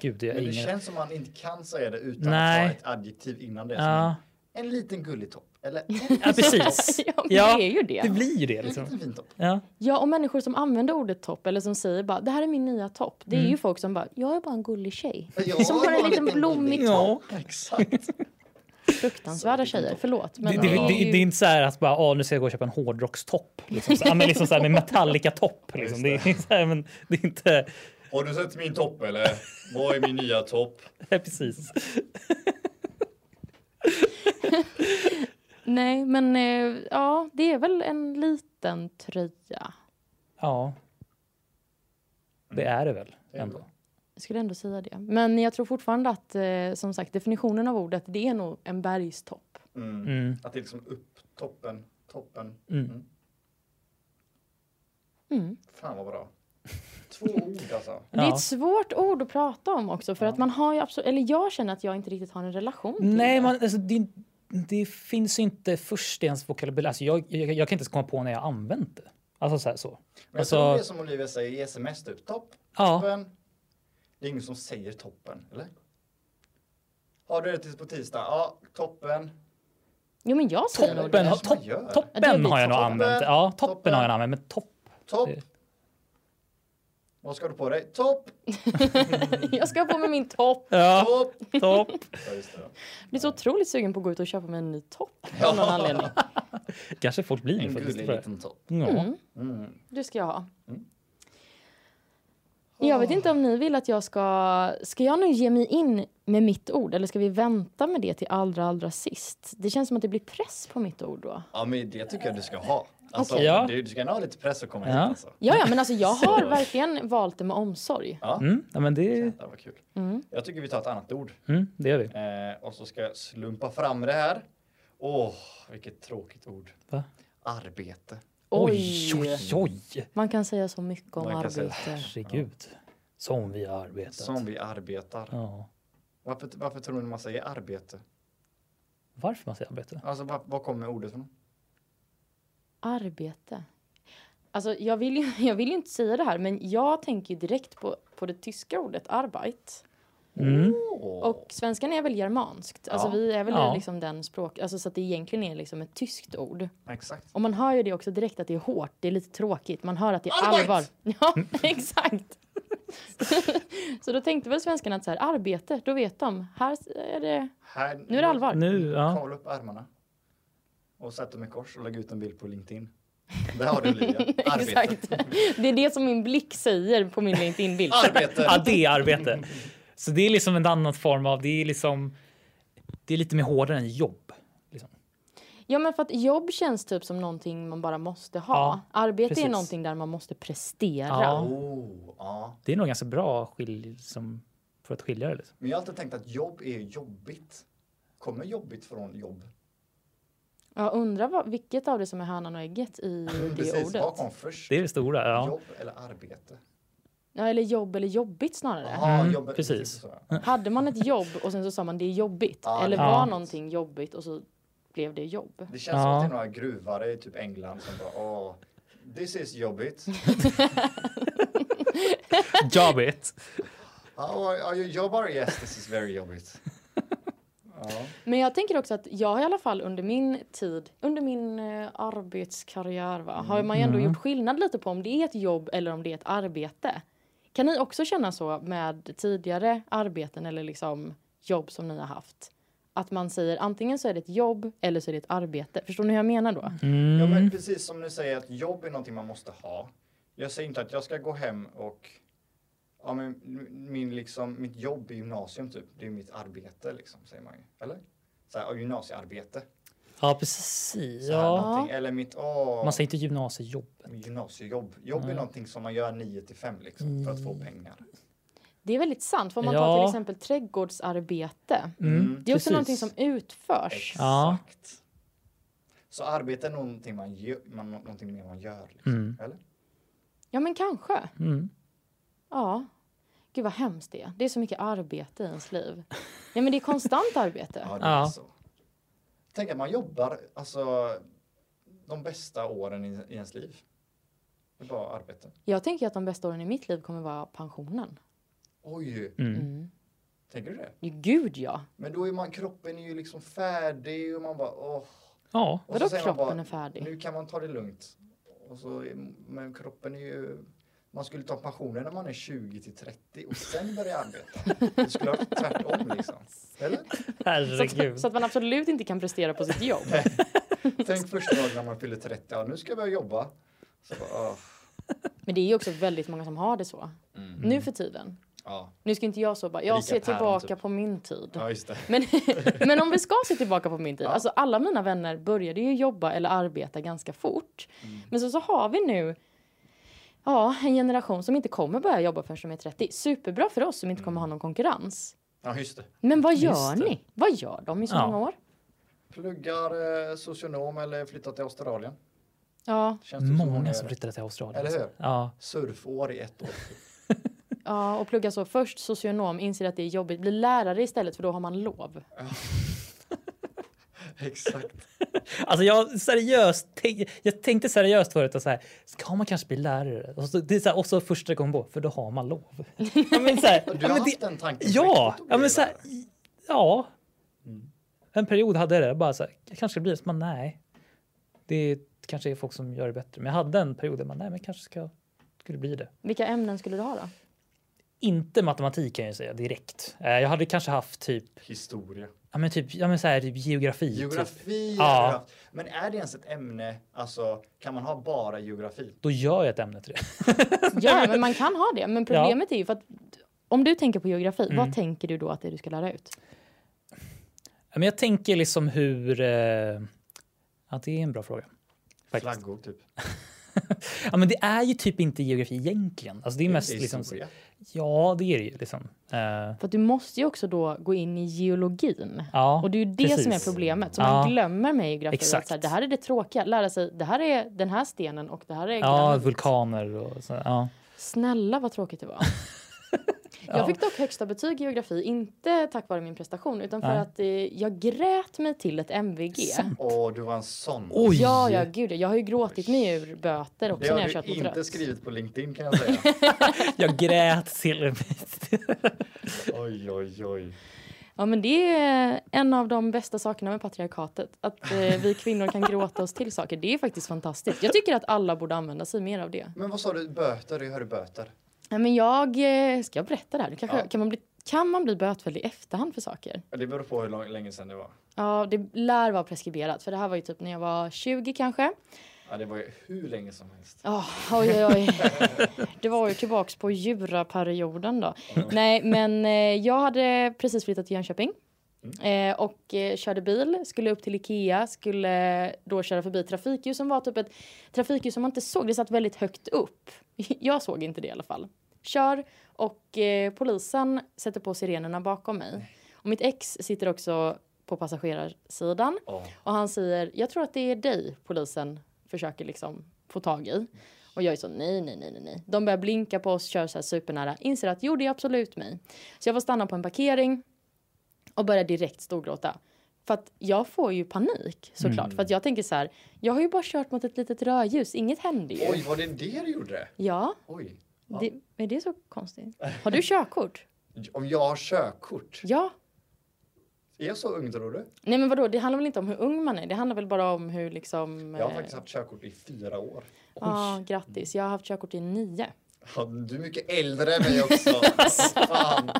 [SPEAKER 3] Gud, jag har
[SPEAKER 1] Men det
[SPEAKER 3] ingen...
[SPEAKER 1] känns som man inte kan säga det utan
[SPEAKER 3] Nej.
[SPEAKER 1] att ha ett adjektiv innan det.
[SPEAKER 3] Ja,
[SPEAKER 1] Som En liten gullig topp. Eller en
[SPEAKER 3] ja
[SPEAKER 1] liten
[SPEAKER 3] precis.
[SPEAKER 2] Ja, men
[SPEAKER 3] Ja,
[SPEAKER 2] det är ju det.
[SPEAKER 3] Det blir ju det liksom.
[SPEAKER 1] liten fin topp.
[SPEAKER 3] Ja,
[SPEAKER 2] Ja, och människor som använder ordet topp eller som säger bara det här är min nya topp. Det är ju folk som bara jag är bara en gullig tjej.
[SPEAKER 1] Ja,
[SPEAKER 2] Som har en
[SPEAKER 1] bara
[SPEAKER 2] liten blommig
[SPEAKER 1] gullig
[SPEAKER 2] topp.
[SPEAKER 1] topp. Exakt.
[SPEAKER 2] Fruktansvärda tjejer, förlåt.
[SPEAKER 3] det,
[SPEAKER 2] Men
[SPEAKER 3] det,
[SPEAKER 2] det,
[SPEAKER 3] det,
[SPEAKER 2] är
[SPEAKER 3] det,
[SPEAKER 2] ju...
[SPEAKER 3] det är inte så här att bara, ah, nu ska jag gå och köpa en hårdrockstopp. Liksom, så, ja, men liksom så här med Metallica-topp. Liksom. Det, är så här, men det är inte...
[SPEAKER 1] Har du sett min topp eller? Vad är min nya topp?
[SPEAKER 3] Ja, precis.
[SPEAKER 2] Nej, men eh, ja, det är väl en liten tröja.
[SPEAKER 3] Ja. Det är Mm. det väl ändå.
[SPEAKER 2] Jag skulle ändå säga det. Men jag tror fortfarande att eh, som sagt definitionen av ordet det är nog en bergstopp.
[SPEAKER 1] Mm.
[SPEAKER 3] Mm.
[SPEAKER 1] Att det är liksom upp, toppen, toppen.
[SPEAKER 3] Mm.
[SPEAKER 2] Mm.
[SPEAKER 1] Fan vad bra. Två ord alltså.
[SPEAKER 2] Det är
[SPEAKER 3] Ja.
[SPEAKER 2] ett svårt ord att prata om också för att man har ju absolut, eller jag känner att jag inte riktigt har en relation till
[SPEAKER 3] Nej,
[SPEAKER 2] det.
[SPEAKER 3] man, alltså, det, det finns ju inte först i ens vokabulär. Alltså, jag, jag, jag kan inte ens komma på när jag har använt det. Alltså så. Här, så.
[SPEAKER 1] Men
[SPEAKER 3] Alltså-
[SPEAKER 1] jag tror det är som Olivia säger i sms typ. Topp,
[SPEAKER 3] Ja,
[SPEAKER 1] toppen. Det är ingen som säger toppen, eller? Har du det tills på tisdag? Ja, toppen.
[SPEAKER 2] Jo men jag säger nog
[SPEAKER 3] toppen,
[SPEAKER 2] det.
[SPEAKER 3] har-
[SPEAKER 1] kanske man
[SPEAKER 3] topp-
[SPEAKER 1] gör.
[SPEAKER 2] Ja, det
[SPEAKER 3] toppen
[SPEAKER 2] blir
[SPEAKER 3] har jag nog
[SPEAKER 1] toppen.
[SPEAKER 3] använt. Ja,
[SPEAKER 1] Toppen.
[SPEAKER 3] toppen har jag nog använt, men topp.
[SPEAKER 1] Topp.
[SPEAKER 3] Det-
[SPEAKER 1] Vad ska du på dig? Topp,
[SPEAKER 2] Jag ska på mig min topp.
[SPEAKER 3] Ja,
[SPEAKER 1] topp.
[SPEAKER 3] topp.
[SPEAKER 1] Ja, just det.
[SPEAKER 2] Jag blir så otroligt sugen på att gå ut och köpa mig en ny topp av någon anledning.
[SPEAKER 3] Kanske folk blir
[SPEAKER 1] En
[SPEAKER 3] det faktiskt.
[SPEAKER 1] gullig
[SPEAKER 3] tror jag.
[SPEAKER 1] liten topp.
[SPEAKER 3] Ja.
[SPEAKER 1] Mm.
[SPEAKER 2] Det ska jag ha. Jag vet inte om ni vill att jag ska... Ska jag nu ge mig in med mitt ord eller ska vi vänta med det till allra, allra sist? Det känns som att det blir press på mitt ord då.
[SPEAKER 1] Ja, men det tycker jag du ska ha. Alltså,
[SPEAKER 3] Okej, ja.
[SPEAKER 1] du, du ska ha lite press att komma
[SPEAKER 3] Ja.
[SPEAKER 1] hit alltså.
[SPEAKER 2] Ja, ja, men alltså jag har verkligen valt det med omsorg.
[SPEAKER 3] Mm. Ja, men det,
[SPEAKER 1] Jävlar vad kul. Jag tycker vi tar ett annat ord.
[SPEAKER 3] mm, det gör vi.
[SPEAKER 1] Eh, och så ska jag slumpa fram det här. Åh, vilket tråkigt ord.
[SPEAKER 3] Va?
[SPEAKER 1] Arbete.
[SPEAKER 2] Oj!
[SPEAKER 3] Oj, oj, oj.
[SPEAKER 2] Man kan säga så mycket om
[SPEAKER 1] Man kan säga-
[SPEAKER 2] arbete.
[SPEAKER 3] Herregud. Som vi har arbetat.
[SPEAKER 1] Som vi arbetar.
[SPEAKER 3] Ja.
[SPEAKER 1] Varför, varför tror ni man säger arbete?
[SPEAKER 3] Varför man säger arbete?
[SPEAKER 1] Alltså, var, var kommer ordet från?
[SPEAKER 2] Arbete. Alltså, jag vill ju jag vill ju inte säga det här, men jag tänker ju direkt på, på det tyska ordet arbeit.
[SPEAKER 3] Mm.
[SPEAKER 1] Åh.
[SPEAKER 2] Och svenskan är väl germanskt? Alltså
[SPEAKER 1] Ja.
[SPEAKER 2] vi är väl
[SPEAKER 3] Ja.
[SPEAKER 2] liksom den språk... Alltså så att det egentligen är liksom ett tyskt ord.
[SPEAKER 1] Exakt.
[SPEAKER 2] Och man
[SPEAKER 3] Mm.
[SPEAKER 2] hör ju det också direkt att det är hårt, det är lite tråkigt. Man hör att det är
[SPEAKER 1] Arbeit!
[SPEAKER 2] allvar. Ja, exakt. Så då tänkte väl svenskarna att så här, arbete, då vet de. Här är det...
[SPEAKER 1] Här,
[SPEAKER 2] Nu är det allvar.
[SPEAKER 3] Nu, ja.
[SPEAKER 1] Kavla upp ärmarna. Och sätt dem i kors och lägg ut en bild på LinkedIn. Där har du Olivia. Arbete.
[SPEAKER 2] Exakt. Det är det som min blick säger på min LinkedIn-bild.
[SPEAKER 1] Arbete.
[SPEAKER 3] ja, det är arbete. Så det är liksom en annan form av, det är liksom, det är lite mer hårdare än jobb. Liksom.
[SPEAKER 2] Ja men för att jobb känns typ som någonting man bara måste ha.
[SPEAKER 3] Ja,
[SPEAKER 2] Arbete är
[SPEAKER 3] precis.
[SPEAKER 2] någonting där man måste prestera.
[SPEAKER 3] Ja.
[SPEAKER 1] Oh, ja.
[SPEAKER 3] Det är nog ganska bra skilj, som, för att skilja det. Liksom.
[SPEAKER 1] Men jag har alltid tänkt att jobb är jobbigt. Kommer jobbigt från jobb?
[SPEAKER 2] Jag undrar vad, vilket av det som är hönan och ägget i det
[SPEAKER 1] Precis, vad
[SPEAKER 2] ordet. Mm,
[SPEAKER 1] kom först?
[SPEAKER 3] Det är det stora. Ja.
[SPEAKER 1] Jobb eller arbete?
[SPEAKER 2] Ja, eller jobb eller jobbigt snarare.
[SPEAKER 1] Aha,
[SPEAKER 3] Mm,
[SPEAKER 1] jobbet-
[SPEAKER 3] precis.
[SPEAKER 1] så.
[SPEAKER 2] Hade man ett jobb och sen så sa man det är jobbigt.
[SPEAKER 1] Ja,
[SPEAKER 2] eller
[SPEAKER 3] det-
[SPEAKER 2] var
[SPEAKER 3] Ja.
[SPEAKER 2] någonting jobbigt och så blev det jobb.
[SPEAKER 1] Det känns som
[SPEAKER 3] Ja.
[SPEAKER 1] att det är några gruvare i typ England som bara åh, this is jobbigt.
[SPEAKER 3] Jobbigt.
[SPEAKER 1] Oh, are you jobbar? Yes, this is very jobbigt. Ja.
[SPEAKER 2] Men jag tänker också att jag i alla fall under min tid, under min eh, arbetskarriär va, har man ju ändå
[SPEAKER 3] Mm.
[SPEAKER 2] gjort skillnad lite på om det är ett jobb eller om det är ett arbete. Kan ni också känna så med tidigare arbeten eller liksom jobb som ni har haft? Att man säger antingen så är det ett jobb eller så är det ett arbete. Förstår ni hur jag menar då?
[SPEAKER 1] ja,
[SPEAKER 3] Mm.
[SPEAKER 1] men precis som du säger att jobb är någonting man måste ha. Jag säger inte att jag ska gå hem och ja, men min, liksom, mitt jobb i gymnasium typ, det är mitt arbete liksom, säger man ju. Eller? Så här, ja, gymnasiearbete.
[SPEAKER 3] Ja, precis.
[SPEAKER 1] Så här,
[SPEAKER 3] Ja.
[SPEAKER 1] någonting. Eller mitt åh,
[SPEAKER 3] Man säger Mm. inte gymnasiejobb.
[SPEAKER 1] gymnasiejobb. Jobb är någonting som man gör 9 till 5 liksom, för att
[SPEAKER 3] Mm.
[SPEAKER 1] få pengar.
[SPEAKER 2] Det är väldigt sant. Får man ta
[SPEAKER 3] Ja.
[SPEAKER 2] till exempel trädgårdsarbete.
[SPEAKER 3] Mm.
[SPEAKER 2] Det är också
[SPEAKER 3] precis.
[SPEAKER 2] någonting som utförs.
[SPEAKER 3] Ja.
[SPEAKER 1] Exakt. Så arbete är någonting man gör, man, någonting mer man gör. Liksom.
[SPEAKER 3] Mm.
[SPEAKER 1] Eller?
[SPEAKER 2] Ja men kanske.
[SPEAKER 3] Mm.
[SPEAKER 2] Ja. Gud vad hemskt det är. Det är så mycket arbete i ens liv. Nej men det är konstant arbete.
[SPEAKER 1] Ja, det är
[SPEAKER 3] Ja.
[SPEAKER 1] så. Tänk att man jobbar alltså, de bästa åren i, i ens liv. Det är bara arbete.
[SPEAKER 2] Jag tänker att de bästa åren i mitt liv kommer vara pensionen.
[SPEAKER 1] Oj,
[SPEAKER 3] Mm.
[SPEAKER 2] Mm.
[SPEAKER 1] tänker du det?
[SPEAKER 2] Gud ja.
[SPEAKER 1] Men då är man, kroppen är ju liksom färdig och man bara åh.
[SPEAKER 3] Ja,
[SPEAKER 1] Och
[SPEAKER 2] Vadå
[SPEAKER 1] säger man
[SPEAKER 2] kroppen är färdig?
[SPEAKER 1] Nu kan man ta det lugnt. Och så, är- men kroppen är ju... Man skulle ta pensionen när man är 20 till 30 och sen börja arbeta. Det skulle vara tvärtom liksom. Eller?
[SPEAKER 2] Så att,
[SPEAKER 3] herregud.
[SPEAKER 2] så att man absolut inte kan prestera på sitt jobb.
[SPEAKER 1] Tänk första dagen när man fyller 30, ja nu ska jag börja jobba. Så bara, ah,
[SPEAKER 2] Men det är ju också väldigt många som har det så.
[SPEAKER 1] mm.
[SPEAKER 2] Nu för tiden.
[SPEAKER 1] ja.
[SPEAKER 2] Nu ska inte jag så bara, jag
[SPEAKER 1] Rika
[SPEAKER 2] ser
[SPEAKER 1] päron,
[SPEAKER 2] tillbaka
[SPEAKER 1] typ.
[SPEAKER 2] på min tid.
[SPEAKER 1] ja, just det.
[SPEAKER 2] Men, men om vi ska se tillbaka på min tid. Alltså alla mina vänner började ju jobba eller arbeta ganska fort.
[SPEAKER 3] Mm.
[SPEAKER 2] Men så, så har vi nu ja, en generation som inte kommer börja jobba förrän de är 30. Superbra för oss som inte kommer ha någon konkurrens.
[SPEAKER 1] Ja, just det.
[SPEAKER 2] Men vad
[SPEAKER 3] Mm. Just
[SPEAKER 2] gör
[SPEAKER 3] det.
[SPEAKER 2] ni? Vad gör de i så
[SPEAKER 3] Ja.
[SPEAKER 2] många år?
[SPEAKER 1] Pluggar eh, socionom eller flyttar till Australien.
[SPEAKER 2] Ja,
[SPEAKER 1] Känns det som många
[SPEAKER 3] Många
[SPEAKER 1] gör
[SPEAKER 3] som
[SPEAKER 1] det?
[SPEAKER 3] flyttade till Australien.
[SPEAKER 1] Eller hur?
[SPEAKER 3] Ja.
[SPEAKER 1] Surfår i ett år.
[SPEAKER 2] ja, och plugga så. Först socionom, inser att det är jobbigt. Bli lärare istället för då har man lov.
[SPEAKER 1] Exakt.
[SPEAKER 3] Alltså jag seriöst, tänk, jag tänkte seriöst förut och så här, ska man kanske bli lärare? Och så, det är så här, och så första gången på, för då har man lov. ja, men så här,
[SPEAKER 1] Du har
[SPEAKER 3] ja, men det,
[SPEAKER 1] haft den tanken? på
[SPEAKER 3] ja,
[SPEAKER 1] riktigt att
[SPEAKER 3] ja,
[SPEAKER 1] bli
[SPEAKER 3] men så här,
[SPEAKER 1] lärare?
[SPEAKER 3] ja.
[SPEAKER 1] Mm.
[SPEAKER 3] En period hade jag det, bara så här, jag kanske ska bli det, men nej. Det kanske är folk som gör det bättre. Men jag hade en period där man, nej men kanske ska, skulle bli det.
[SPEAKER 2] Vilka ämnen skulle du ha då?
[SPEAKER 3] Inte matematik kan jag ju säga direkt. Eh, Jag hade kanske haft typ,
[SPEAKER 1] Historia.
[SPEAKER 3] ja men typ, ja men så här, typ geografi. Typ.
[SPEAKER 1] Geografi
[SPEAKER 3] Ja.
[SPEAKER 1] har du haft. Men är det ens ett ämne, alltså kan man ha bara geografi?
[SPEAKER 3] Då gör jag ett ämne till det.
[SPEAKER 2] Ja, men man kan ha det. Men problemet är ju för att om du tänker på geografi,
[SPEAKER 3] Mm.
[SPEAKER 2] vad tänker du då att det är du ska lära ut?
[SPEAKER 3] Ja, Men jag tänker liksom hur... Eh, ja, det är en bra fråga. Faktiskt.
[SPEAKER 1] Flaggor typ.
[SPEAKER 3] Ja, men det är ju typ inte geografi egentligen. Alltså, det är mest
[SPEAKER 1] Det är
[SPEAKER 3] liksom...
[SPEAKER 1] historia.
[SPEAKER 3] Ja, det är det ju liksom. Eh,
[SPEAKER 2] För att du måste ju också då gå in i geologin.
[SPEAKER 3] Ja,
[SPEAKER 2] och det är ju det
[SPEAKER 3] precis.
[SPEAKER 2] som är problemet. Så
[SPEAKER 3] Ja.
[SPEAKER 2] man glömmer med geografi. Att
[SPEAKER 3] Exakt.
[SPEAKER 2] så här, det här är det tråkiga. Lära sig, det här är den här stenen och det här är
[SPEAKER 3] ja,
[SPEAKER 2] granit.
[SPEAKER 3] vulkaner och så. Ja.
[SPEAKER 2] Snälla vad tråkigt det var. Jag fick dock högsta betyg i geografi, inte tack vare min prestation utan för
[SPEAKER 3] Nej.
[SPEAKER 2] att eh, jag grät mig till ett MVG.
[SPEAKER 1] Åh, du var en sån.
[SPEAKER 3] Oj!
[SPEAKER 2] Ja, ja, gud ja. Jag har ju gråtit mig ur böter
[SPEAKER 1] det
[SPEAKER 2] också när jag
[SPEAKER 1] har
[SPEAKER 2] kört
[SPEAKER 1] du
[SPEAKER 2] mot
[SPEAKER 1] inte
[SPEAKER 2] rött.
[SPEAKER 1] skrivit på LinkedIn kan jag säga.
[SPEAKER 3] Jag grät till
[SPEAKER 1] oj, oj, oj.
[SPEAKER 2] Ja, men det är en av de bästa sakerna med patriarkatet. Att eh, vi kvinnor kan gråta oss till saker. Det är faktiskt fantastiskt. Jag tycker att alla borde använda sig mer av det.
[SPEAKER 1] Men vad sa du, böter? Jag hörde böter.
[SPEAKER 2] Nej, men jag, eh, ska jag berätta det här? Nu Kanske,
[SPEAKER 1] Ja.
[SPEAKER 2] kan, man bli, kan man bli bötfälld i efterhand för saker?
[SPEAKER 1] Ja, Det beror på hur lång, länge sedan det var.
[SPEAKER 2] Ja, det lär vara preskriberat. För det här var ju typ när jag var 20 kanske.
[SPEAKER 1] Ja, det var ju hur länge som helst.
[SPEAKER 2] Ja, oj, oj, oj. Det var ju tillbaks på juraperioden då. Nej, men eh, jag hade precis flyttat till Jönköping. Eh, och eh, körde bil, skulle upp till Ikea, skulle eh, då köra förbi ett trafikljus som var typ ett trafikljus som man inte såg. Det satt väldigt högt upp. Jag såg inte det i alla fall. Kör och eh, polisen sätter på sirenerna bakom mig. Och mitt ex sitter också på passagerarsidan.
[SPEAKER 1] Ja.
[SPEAKER 2] Och han säger, jag tror att det är dig polisen försöker liksom få tag i. Och jag är så nej, nej, nej, nej, nej. De börjar blinka på oss, kör så här supernära. Inser att jo, det är absolut mig. Så jag får stanna på en parkering och börjar direkt storgråta. För att jag får ju panik såklart.
[SPEAKER 1] Mm.
[SPEAKER 2] För att jag tänker så här, jag har ju bara kört mot ett litet rödljus, inget händer ju.
[SPEAKER 1] Oj, var det det du gjorde?
[SPEAKER 2] Ja,
[SPEAKER 1] Oj.
[SPEAKER 2] det, är det så konstigt? Har du körkort?
[SPEAKER 1] Om jag har körkort?
[SPEAKER 2] Ja.
[SPEAKER 1] Är jag så ung tror du?
[SPEAKER 2] Nej men vadå, det handlar väl inte om hur ung man är? Det handlar väl bara om hur liksom...
[SPEAKER 1] Jag har
[SPEAKER 2] eh,
[SPEAKER 1] faktiskt haft körkort i fyra år.
[SPEAKER 2] Ja, grattis. Jag har haft körkort i nio.
[SPEAKER 1] Ja, du är mycket äldre än mig också. Fan.